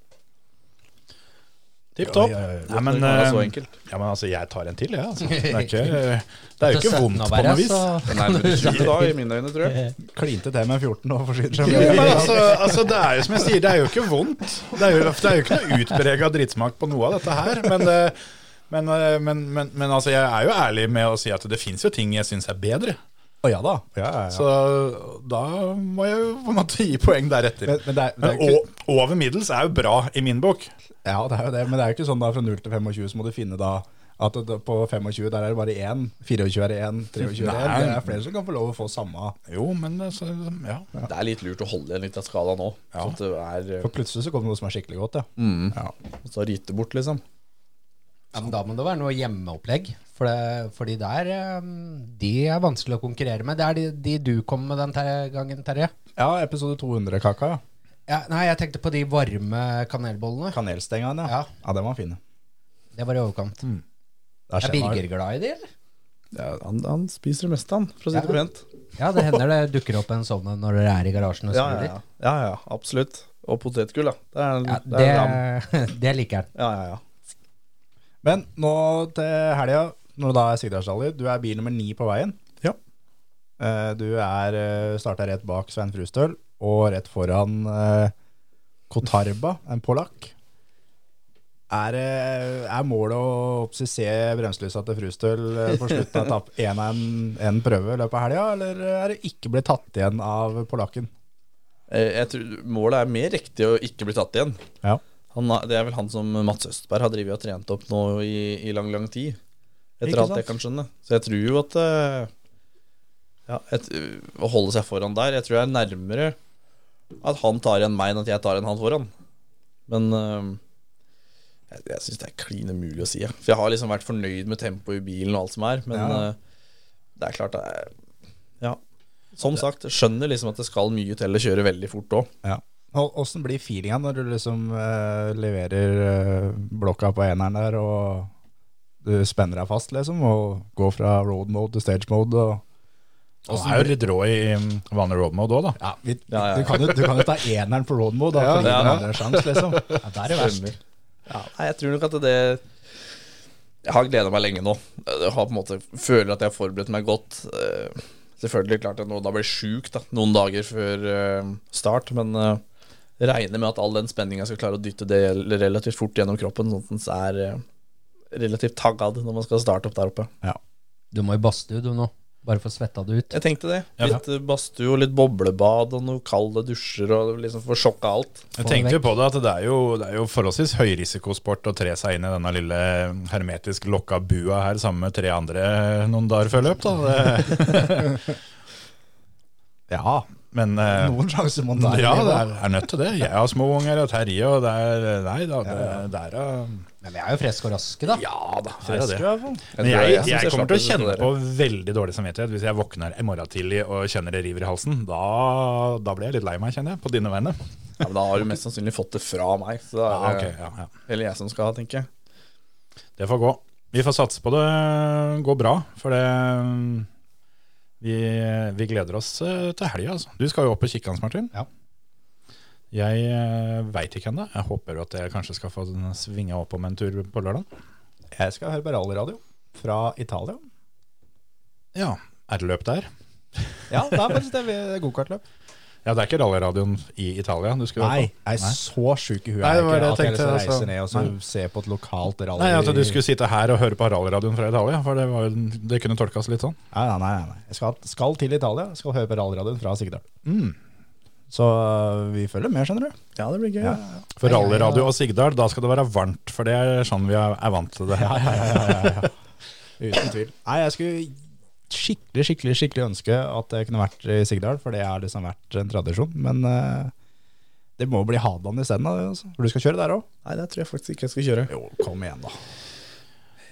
Tipp topp. Oi, oi, oi. Nei, men, Det kan være så eh, enkelt. ja, men altså, jeg tar en til, jeg. altså. Det er ikke, det er jo Til ikke 17 vondt å på altså. være, noe vis. så- Det er nærmere 20 da, i mine øyne, tror jeg. Klinte til med 14 og forsyner seg. Ja, men med- altså, altså, det er jo som jeg sier, det er jo ikke vondt. Det er jo, det er jo ikke noe utprega dritsmak på noe av dette her. Men, eh, men, eh, men, men, men altså, jeg er jo ærlig med å si at det fins jo ting jeg syns er bedre. Å ja da. Ja, ja, ja. Så da må jeg jo på en måte gi poeng deretter. Men- men det er- Men det er ikke- o- over middels er jo bra i min bok. Ja, det er jo det, men det er jo ikke sånn da fra 0 til 25 så må du finne da at det- på 25 der er det bare én, 24 er det én, 23 er det én. Nei. Det er flere som kan få lov å få samme. Jo, men altså, ja. Det er litt lurt å holde igjen litt av skala nå. Sånn at det er For plutselig så kommer det noe som er skikkelig godt, ja. eh, så ryte bort, liksom. Ja, men da må det være noe hjemmeopplegg. For det, fordi der eh, De er vanskelig å konkurrere med. Det er de, de du kom med den ter gangen, Terje. Ja, episode 200 kaka, ja. Ja, nei, jeg tenkte på de varme kanelbollene. Kanelstengene, ja. Ja. Ja, den var fin. Det var i overkant. Da Er skjer det. Birger glad i de, eller? Ja, han, han spiser det meste, han, for å si Ja. det pent. Ja, det hender det dukker opp en sånn en når dere er i garasjen og Ja, ja, skrur ja. ja, ja, absolutt. Og potetgull, da. Det er, Ja, det er lam. det, det liker han. Ja, ja, ja. Men nå til helga, når da er Sigdalsdalli, du er bil nummer ni på veien. Ja. Eh, Du er starta rett bak Svein Frustøl, og rett foran eh, Kotarba, en polakk. Er, eh, er målet å oppsi se bremselysa til Frustøl eh, på slutten av etapp én av en, en prøve i løpet av helga, eller eh, er det ikke blitt tatt igjen av polakken? Eh, Jeg tror Målet er mer riktig å ikke bli tatt igjen. Ja. Han, har- det er vel han som Mats Østberg har drevet og trent opp nå i, i lang, lang tid. Etter Ikke alt jeg kan skjønne. Så jeg tror jo at eh, ja, et, Å holde seg foran der Jeg tror jeg er nærmere at han tar igjen meg enn at jeg tar igjen han foran. Men eh, jeg, jeg syns det er klin umulig å si. jeg. For jeg har liksom vært fornøyd med tempoet i bilen og alt som er. Men Ja. eh, det er klart det er Ja. Som sagt, skjønner liksom at det skal mye til å kjøre veldig fort òg. Ja. Åssen blir feelinga når du liksom eh, leverer eh, blokka på eneren der, og du spenner deg fast, liksom, og går fra road mode til stage mode? Og, Og så er jo litt rå i um, vanlig road mode òg, da. ja, vi, Ja, ja. Du, kan jo, du kan jo ta eneren på road mode, da, Ja, for ja, ja. ja. andre sjans, liksom. Ja, der er verst. Ja, nei, jeg tror nok at det Jeg har gleda meg lenge nå. Jeg har på en måte føler at jeg har forberedt meg godt. Eh, Selvfølgelig klart at noen da blir sjuk da, noen dager før eh, start, men eh, regner med at all den spenninga skal klare å dytte det relativt fort gjennom kroppen, sånn at den er eh, relativt taggad når man skal starte opp der oppe. Du må i badstue, du nå. Bare få svetta det ut. Jeg tenkte det. Ja. Litt eh, badstue og litt boblebad og noen kalde dusjer og liksom få sjokka alt. Jeg Få det tenkte jo vekk. på det at det er jo, det er jo forholdsvis høyrisikosport å tre seg inn i denne lille hermetisk lokka bua her sammen med tre andre noen dager før løp, da. Det, Ja, men eh, noen sjanser må man ta. ja, det er, er nødt til det. Jeg har små unger og Terje, og det er Nei da, det, det er eh, Men vi er jo friske og raske, da. Ja da, det er Friske, i det. hvert fall. Jeg Men tror jeg, synes jeg kommer til å slapp ut kjenne det der. på veldig dårlig samvittighet hvis jeg våkner i morgen tidlig og kjenner det river i halsen. Da, da blir jeg litt lei meg, kjenner jeg, på dine vegne. Ja, men Da har du mest sannsynlig fått det fra meg. Så da Ja, er det Ah, ok, ja, ja. heller jeg som skal ha, tenker jeg. Det får gå. Vi får satse på det går bra, for det Vi, vi gleder oss eh, til helga, altså. Du skal jo opp på Kikkans, Martin. Ja. Jeg veit ikke ennå. Jeg håper jo at jeg kanskje skal få den svinga opp om en tur på lørdag. Jeg skal høre på rallyradio fra Italia. Ja. Er det løp der? Ja, det er faktisk det. vi- Gokartløp. Ja, det er ikke rallyradioen i Italia du skulle Nei, på? jeg er så sjuk i huet Nei, jeg det var er ikke det at jeg jeg liksom tenkte, altså. reiser ned og så Nei. ser på et lokalt rally. Nei, at du skulle sitte her og høre på rallyradioen fra Italia, for det, var, jo- det kunne tolkes litt sånn. Nei, nei, nei, nei. Jeg skal, skal til Italia. Jeg skal høre på rallradioen fra Sigdal. Mm. Så øh, vi følger med, skjønner du. Ja, det blir gøy. For Nei, ja, ja. rallyradio og Sigdal, da skal det være varmt, for det er sånn vi er, er vant til det. Ja, ja, ja, Uten tvil. Nei, jeg skulle skikkelig, skikkelig skikkelig ønske at jeg kunne vært i Sigdal, for det har liksom vært en tradisjon. Men øh, det må bli Hadeland isteden, da, altså. for du skal kjøre der òg. Nei, det tror jeg faktisk ikke jeg skal kjøre. Jo, kom igjen, da.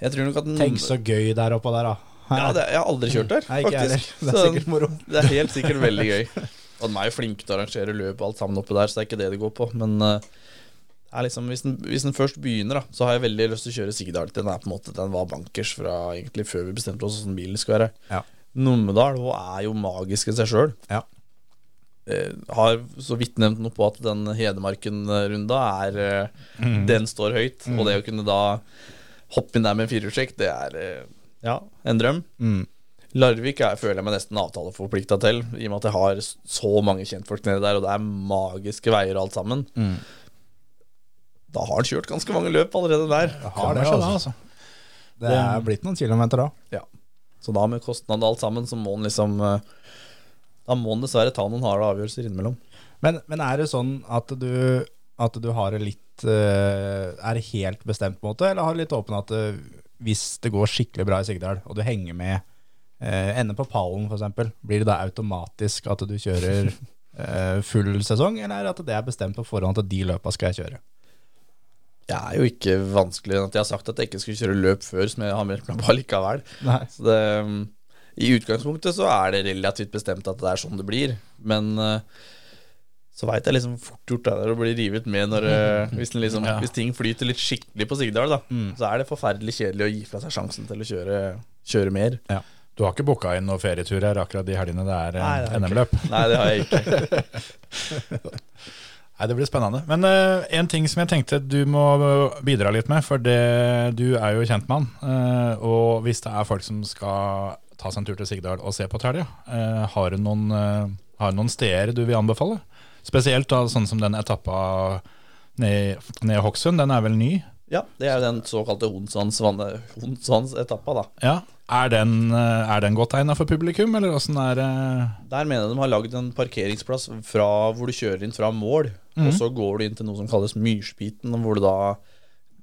Jeg tror nok at den, Tenk så gøy der oppe og der, da. ja, det, Jeg har aldri kjørt der, Nei, ikke jeg heller. faktisk. Det er Så sikkert moro. det er helt sikkert veldig gøy. Og de er jo flinke til å arrangere løp og alt sammen oppe der, så det er ikke det det går på. Men eh, det er liksom, hvis, den, hvis den først begynner, da, så har jeg veldig lyst til å kjøre Sigdal. Den er på en måte, den var bankers fra egentlig før vi bestemte oss hvordan bilen skulle være. Ja. Numedal hun er jo magisk i seg sjøl. Ja. eh, har så vidt nevnt noe på at den Hedmarken-runda er eh, Den står høyt. Og det å kunne da hoppe inn der med en firehjulstrekk, det er eh, ja, en drøm. Larvik er, føler jeg meg nesten avtaleforplikta til, i og med at jeg har s- så mange kjentfolk nede der, og det er magiske veier og alt sammen. Da har han kjørt ganske mange løp allerede der. Har det, altså. Det er blitt noen kilometer da. Ja. Så da med kostnad og alt sammen, så må han liksom eh, Da må han dessverre ta noen harde avgjørelser innimellom. Men, men er det sånn at du, at du har det litt eh, Er det helt bestemt på en måte, eller har det litt åpen at eh, hvis det går skikkelig bra i Sigdal, og du henger med eh, Ender på pallen, f.eks., blir det da automatisk at du kjører eh, full sesong, eller er det at det er bestemt på forhånd at de løpa skal jeg kjøre? Jeg er jo ikke vanskeligere enn at jeg har sagt at jeg ikke skulle kjøre løp før, som jeg har meldt meg på likevel. Nei. Så det, um, I utgangspunktet så er det relativt bestemt at det er sånn det blir, men uh, så veit jeg liksom fort gjort det der å bli rivet med når, uh, hvis, den liksom, hvis ting flyter litt skikkelig på Sigdal, da, Mm. så er det forferdelig kjedelig å gi fra seg sjansen til å kjøre, kjøre mer. Du har ikke booka inn noen ferieturer akkurat de helgene det er Nei, det eh, har jeg ikke. NM-løp? Nei, det har jeg ikke. Nei, Det blir spennende. Men eh, en ting som jeg tenkte du må eh, bidra litt med, for det, du er jo kjent med han. eh, og hvis det er folk som skal ta seg en tur til Sigdal og se på Telja, eh, har du noen, eh, har du noen steder du vil anbefale? Spesielt da, sånn som den etappa ned ned i Hokksund, den er vel ny? Ja, det er jo den såkalte Honsans-etappa, da. Ja. Er den, eh, er den godt egna for publikum, eller åssen er det? Der mener jeg de har lagd en parkeringsplass fra, hvor du kjører inn fra mål, Mhm. og så går du inn til noe som kalles Myrspiten, hvor du da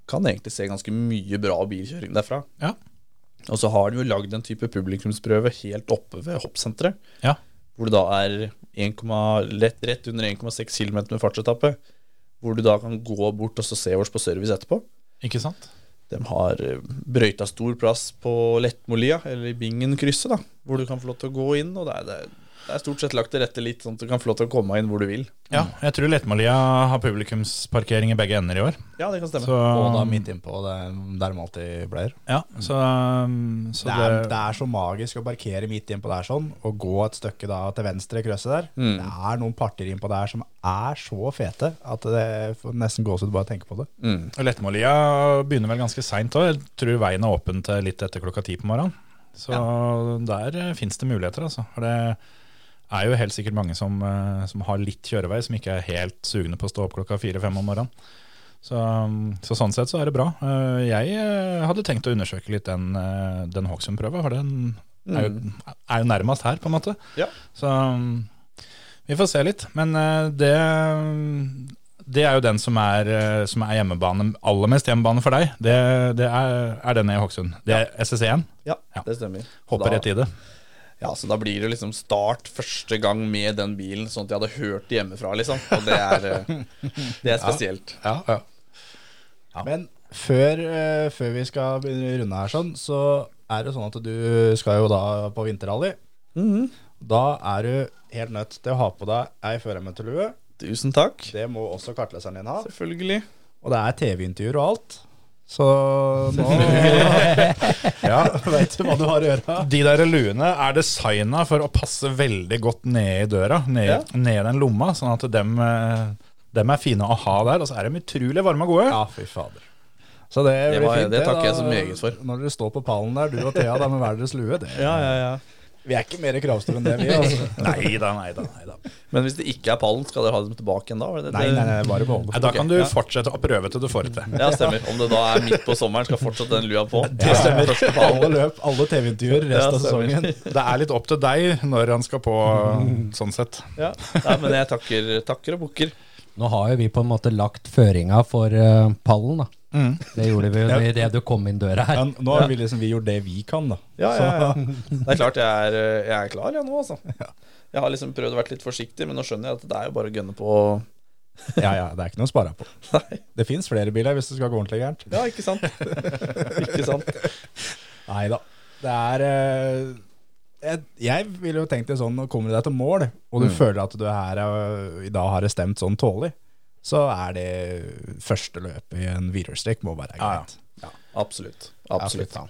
kan egentlig se ganske mye bra bilkjøring derfra. Ja. Og så har de jo lagd en type publikumsprøve helt oppe ved hoppsenteret, Ja. hvor det da er 1,0 lett, rett under 1,6 km med fartsetappe, hvor du da kan gå bort og så se oss på service etterpå. Ikke sant? De har eh, brøyta stor plass på Lettmolia, eller i Bingen-krysset, da, hvor du kan få lov til å gå inn. Og det er, det er, det er stort sett lagt til rette litt, sånn at du kan få lov til å komme inn hvor du vil. Ja, Mm. jeg tror Lettmalia har publikumsparkering i begge ender i år. Ja, det kan stemme. Så, Og da midt innpå, det er der de alltid pleier. ja, så, um, så Det er, det er så magisk å parkere midt innpå der sånn, og gå et stykke da til venstre i krøsset der. Det er noen partier innpå der som er så fete at det får nesten gåsehud bare å tenke på det. Mm. Eh, Og Lettmålia begynner vel ganske seint òg. Jeg tror veien er åpen til litt etter klokka ti på morgenen. Så der fins det muligheter, altså. Og det er jo helt sikkert mange som, eh, som har litt kjørevei, som ikke er helt sugne på å stå opp klokka fire-fem om morgenen. Så, um, så sånn sett så er det bra. Eh, Jeg eh, hadde tenkt å undersøke litt den, eh, den Hokksund-prøva, for den er jo, er jo nærmest her, på en måte. Ja. Så um, vi får se litt. Men eh, det det er jo den som er, eh, som er hjemmebane, aller mest hjemmebane for deg. Det, det er, er den i Hokksund. Det er SSE1. Ja, Ja. det stemmer. Hopper da, rett i det. Ja, Så da blir det liksom start første gang med den bilen, sånn at jeg hadde hørt det hjemmefra, liksom. Og det er, eh, det er spesielt. Ja, ja. Men før, eh, før vi skal begynne å runde her sånn, så er det sånn at du skal jo da på vinterrally. Mm-hmm. Da er du helt nødt til å ha på deg ei førermøtelue. Tusen takk. Det må også kartleseren din ha. Selvfølgelig. Og det er TV-intervjuer og alt. Så nå ja, Veit du hva du har å gjøre? De der luene er designa for å passe veldig godt ned i døra, ned, Ja. ned i den lomma, sånn at dem, eh, dem er fine å ha der. Og så er de utrolig varme og gode. Ja, fy fader. Så det, Det blir var- fint, det takker da. jeg så meget for. Når dere står på pallen der, du og Thea, da med hver deres lue. Det. Ja, ja, ja. Vi er ikke mer kravstore enn det, vi. Altså. Nei da, nei da. Nei, da. Men hvis det ikke er pallen, skal dere ha dem tilbake igjen da? var det det- Nei, nei, nei, bare behold Nei, det. da Ok, kan du ja. fortsette å prøve til du får det til. Ja, stemmer. Om det da er midt på sommeren, skal fortsatt den lua på. Det stemmer. Første Alle pallen. løp, alle TV-intervjuer resten Ja, av sesongen. Det er litt opp til deg når han skal på, Mm. sånn sett. Ja. Nei, men jeg takker, takker og bukker. Nå har jo vi på en måte lagt føringa for eh, pallen, da. Det gjorde vi jo Ja. idet du kom inn døra her. Men nå har vi liksom vi gjort det vi kan, da. Så- Det er klart jeg er, jeg er klar, jeg nå, altså. Jeg har liksom prøvd å være litt forsiktig, men nå skjønner jeg at det er jo bare å gønne på. ja, ja, det er ikke noe å spare på. Nei. Det fins flere biler hvis det skal gå ordentlig gærent. Ja, ikke sant? Ikke sant? Nei da. Det er eh, jeg, jeg ville jo tenkt det sånn Når kommer du deg til mål, og du Mm. føler at du her eh, i dag har det stemt sånn tålelig, så er det første løpet i en hvilerstrekk må være Ja, ja. greit. Absolutt. Absolutt, Absolutt. ja.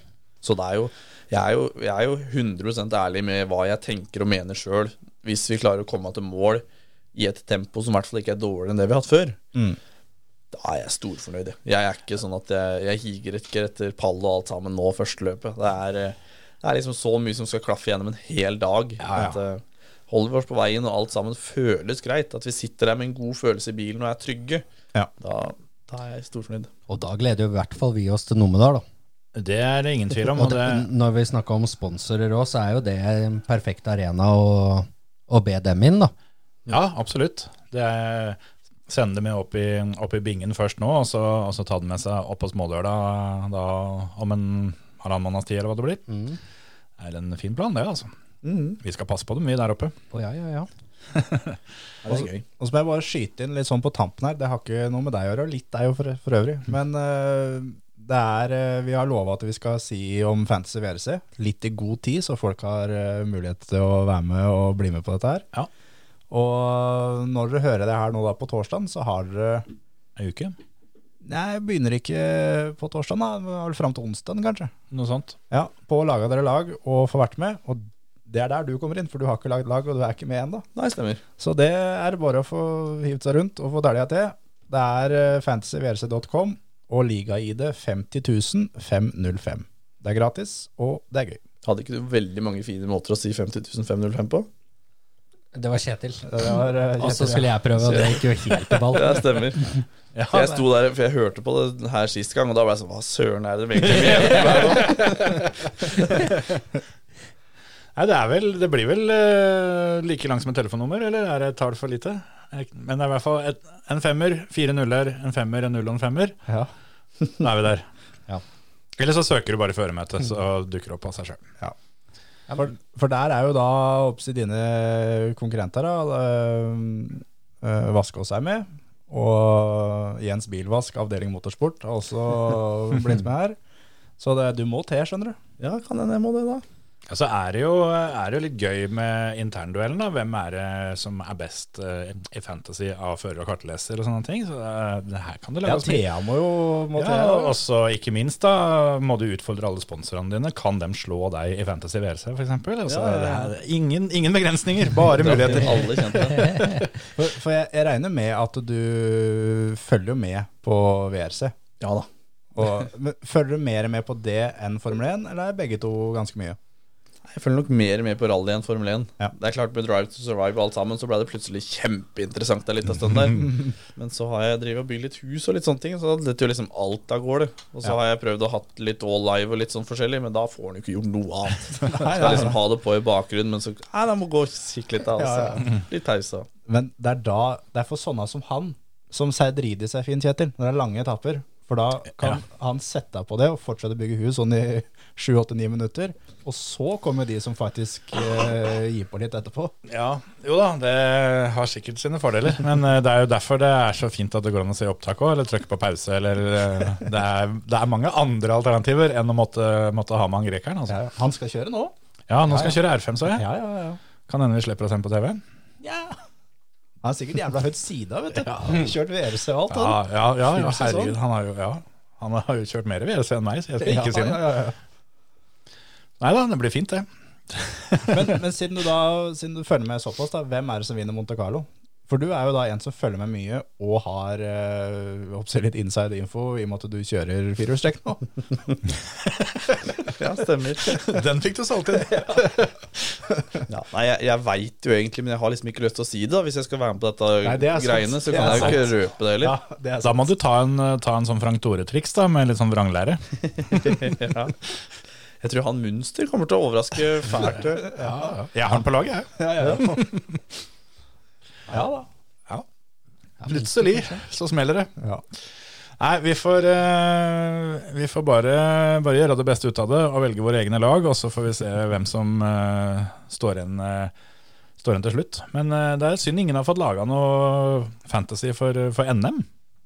Så det er jo Jeg er jo, jeg er jo 100 ærlig med hva jeg tenker og mener sjøl. Hvis vi klarer å komme til mål i et tempo som i hvert fall ikke er dårligere enn det vi har hatt før, Mm. da er jeg storfornøyd. jeg. Jeg er ikke sånn at jeg, jeg higer ikke etter pall og alt sammen nå første løpet. Det er, eh, det er liksom så mye som skal klaffe gjennom en hel dag. ja. At, eh, holder vi oss på veien og alt sammen føles greit, at vi sitter der med en god følelse i bilen og er trygge, Ja. da, da er jeg storfornøyd. Og da gleder jo i hvert fall vi oss til Numedal, da. Det er det ingen tvil om. Og Og det, det- når vi snakker om sponsorer òg, så er jo det en perfekt arena å, å be dem inn, da. ja, absolutt. Det er, sende det med opp i, opp i bingen først nå, og så, og så ta det med seg opp på smådøla da, om en halvannen måneds tid, eller hva det blir. Mm. Det er en fin plan, det, altså. Vi skal passe på dem, vi der oppe. Å, ja, ja, ja. Det er gøy. Og så må jeg bare skyte inn litt sånn på tampen her. Det har ikke noe med deg å gjøre, og litt deg jo for, for øvrig. Mm. Men eh, det er eh, Vi har lova at vi skal si om Fantasy VRC litt i god tid, så folk har eh, mulighet til å være med og bli med på dette her. Ja. Og når dere hører det her nå da på torsdag, så har dere En uke, Nei, begynner ikke på torsdag, da. Vel Fram til onsdag, kanskje. noe sånt. Ja, På å lage dere lag og få vært med. Og det er der du kommer inn, for du har ikke lagd lag, og du er ikke med ennå. Nei, stemmer. Så det er bare å få hivd seg rundt og få dælja til. Det er eh, fantasyvrc.com og liga-ID 505. Det er gratis, og det er gøy. Hadde ikke du veldig mange fine måter å si 50.505 på? Det var Kjetil. Det var, eh, Og så kjempe- skulle jeg prøve, og det gikk jo helt i ball. Ja, stemmer. For jeg sto der, for jeg hørte på det her sist gang, og da ble jeg sånn Hva søren er det de egentlig mener? Nei, det, er vel, det blir vel eh, like langt som et telefonnummer, eller er det et tall for lite? Jeg- Men det er i hvert fall et, en femmer, fire nuller, en femmer, en null og en femmer. Ja. Da er vi der. Ja. Eller så søker du bare i føremøtet, så dukker det opp av seg sjøl. For, for der er jo da oppsi dine konkurrenter, da. eh, eh, Vaskås er med. Og Jens Bilvask, avdeling motorsport, har også blitt med her. Så det, du må te, skjønner du. Ja, kan hende jeg må det, da. Ja, så er det, jo, er det jo litt gøy med internduellen. da. Hvem er det som er best eh, i fantasy av fører og kartleser og sånne ting. Så det, er- det her kan det Ja, lages mye. Thea må jo må te. Ja, og så ikke minst da må du utfordre alle sponsorene dine. Kan dem slå deg i Fantasy VRC f.eks.? Altså, Ja, ja, ja. det er Ingen, ingen begrensninger, bare muligheter. Alle kjente det. For, for jeg, jeg regner med at du følger jo med på VRC. Ja da. Og, men følger du mer med på det enn Formel 1, eller er begge to ganske mye? Jeg følger nok mer med på rally enn Formel 1. Ja. Det er klart Med Drive to Survive og alt sammen Så ble det plutselig kjempeinteressant en liten stund der. Men så har jeg drevet og bygd litt hus og litt sånne ting, så da detter jo liksom alt av gårde. Og så Ja. har jeg prøvd å hatt litt all live og litt sånn forskjellig, men da får en jo ikke gjort noe annet. Nei, Skal liksom ha det på i bakgrunnen, men så Nei, da må gå og kikke litt, da. Ja, Altså. Litt pause. Men det er da Det er for sånne som han, som Seidridi seg fin, Kjetil, når det er lange etapper. For da kan han sette deg på det og fortsette å bygge hus sånn i 7-8-9 minutter. Og så kommer de som faktisk eh, gir på litt etterpå. Ja, jo da, det har sikkert sine fordeler. Men eh, det er jo derfor det er så fint at det går an å se opptak òg, eller trykke på pause. Eller, eh, det, er, det er mange andre alternativer enn å måtte, måtte ha med han grekeren. Altså. Ja, han skal kjøre nå. Ja, nå skal jeg kjøre R5, så jeg. Ja, ja, ja. Kan hende vi slipper å se den på TV. ja. Han er sikkert jævla høyt sida, vet du. Kjørt VRC og alt. Ja, han. ja, ja, ja Full sesong. herregud. Han har jo, ja, han har jo kjørt mer VRC enn meg, så jeg skal ikke si Ja, noe. ja, ja, ja. Nei da, det blir fint, det. Men, men siden, du da, siden du følger med såpass, da, hvem er det som vinner Monte Carlo? For du er jo da en som følger med mye og har eh, oppsett litt inside info i og med at du kjører firehjulstrekk nå. Ja, stemmer. Den fikk du solgt inn. Ja, nei, jeg, jeg veit jo egentlig, men jeg har liksom ikke lyst til å si det. da Hvis jeg skal være med på dette Nei, det er sant. greiene, så Det kan er jeg jo ikke røpe det heller. det er Da må du ta en, ta en sånn Frank Tore-triks da, med litt sånn vranglære. Ja. Jeg tror han Munster kommer til å overraske fælt. Jeg har den på laget, jeg. Ja, ja, ja. ja da. Plutselig så smeller det. Ja. Nei, vi får, eh, vi får bare, bare gjøre det beste ut av det og velge våre egne lag, og så får vi se hvem som eh, står igjen. eh, står igjen til slutt. Men eh, det er synd ingen har fått laga noe fantasy for, for NM.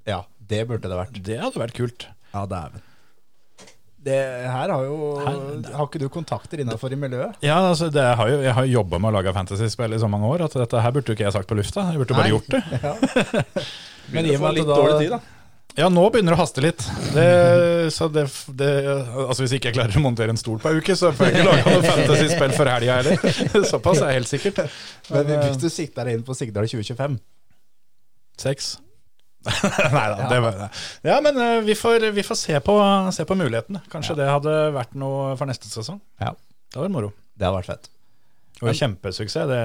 ja, det burde det vært. Det hadde vært kult. Ja, dæven. Det her har jo Her- Har ikke du kontakter innafor i miljøet? Ja, altså, det har jo, Jeg har jo jobba med å lage fantasyspill i så mange år at dette her burde jo ikke jeg sagt på lufta. Jeg burde jo bare Nei. gjort det. Ja. Men i og med at det da- Ja, Ja, nå begynner det å haste litt. Det, så det, det, altså Hvis ikke jeg klarer å montere en stol på ei uke, så får jeg ikke laga noe fantasy-spill før helga heller. Såpass er helt sikkert. eh, Men eh, vi- hvis du sikter deg inn på Sigdal 2025 Seks. Nei da. Det var, ja, men eh, vi får, vi får se, på, se på mulighetene. Kanskje det hadde vært noe for neste sesong. Ja. Det var moro. Det hadde vært fett. Det var kjempesuksess, det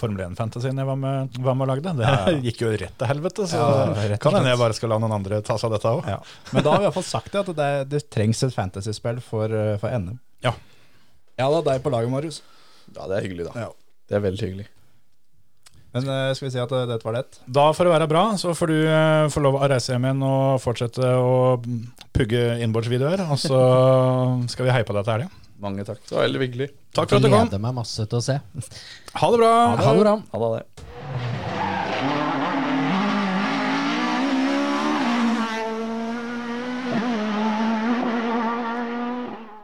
Formel 1-fantasyen jeg var med, var med og lagde. Det gikk jo rett til helvete, så Ja, rett og kan hende slett. jeg bare skal la noen andre ta seg av dette òg. Ja. Men da har vi iallfall sagt det, at det, det trengs et fantasyspill for, eh, for NM. Ja. Ja, da deg på laget, Marius. Ja, det er hyggelig, da. Ja. Det er veldig hyggelig. Men eh, skal vi si at eh, dette var det? Da, for å være bra, så får du eh, få lov å reise hjem igjen og fortsette å pugge innbordsvideoer. Og så skal vi heie på deg til helga. Mange takk. Det var veldig hyggelig. Takk for at du kom. Gleder meg masse til å se. Ha det bra. Ha det bra. Ha det.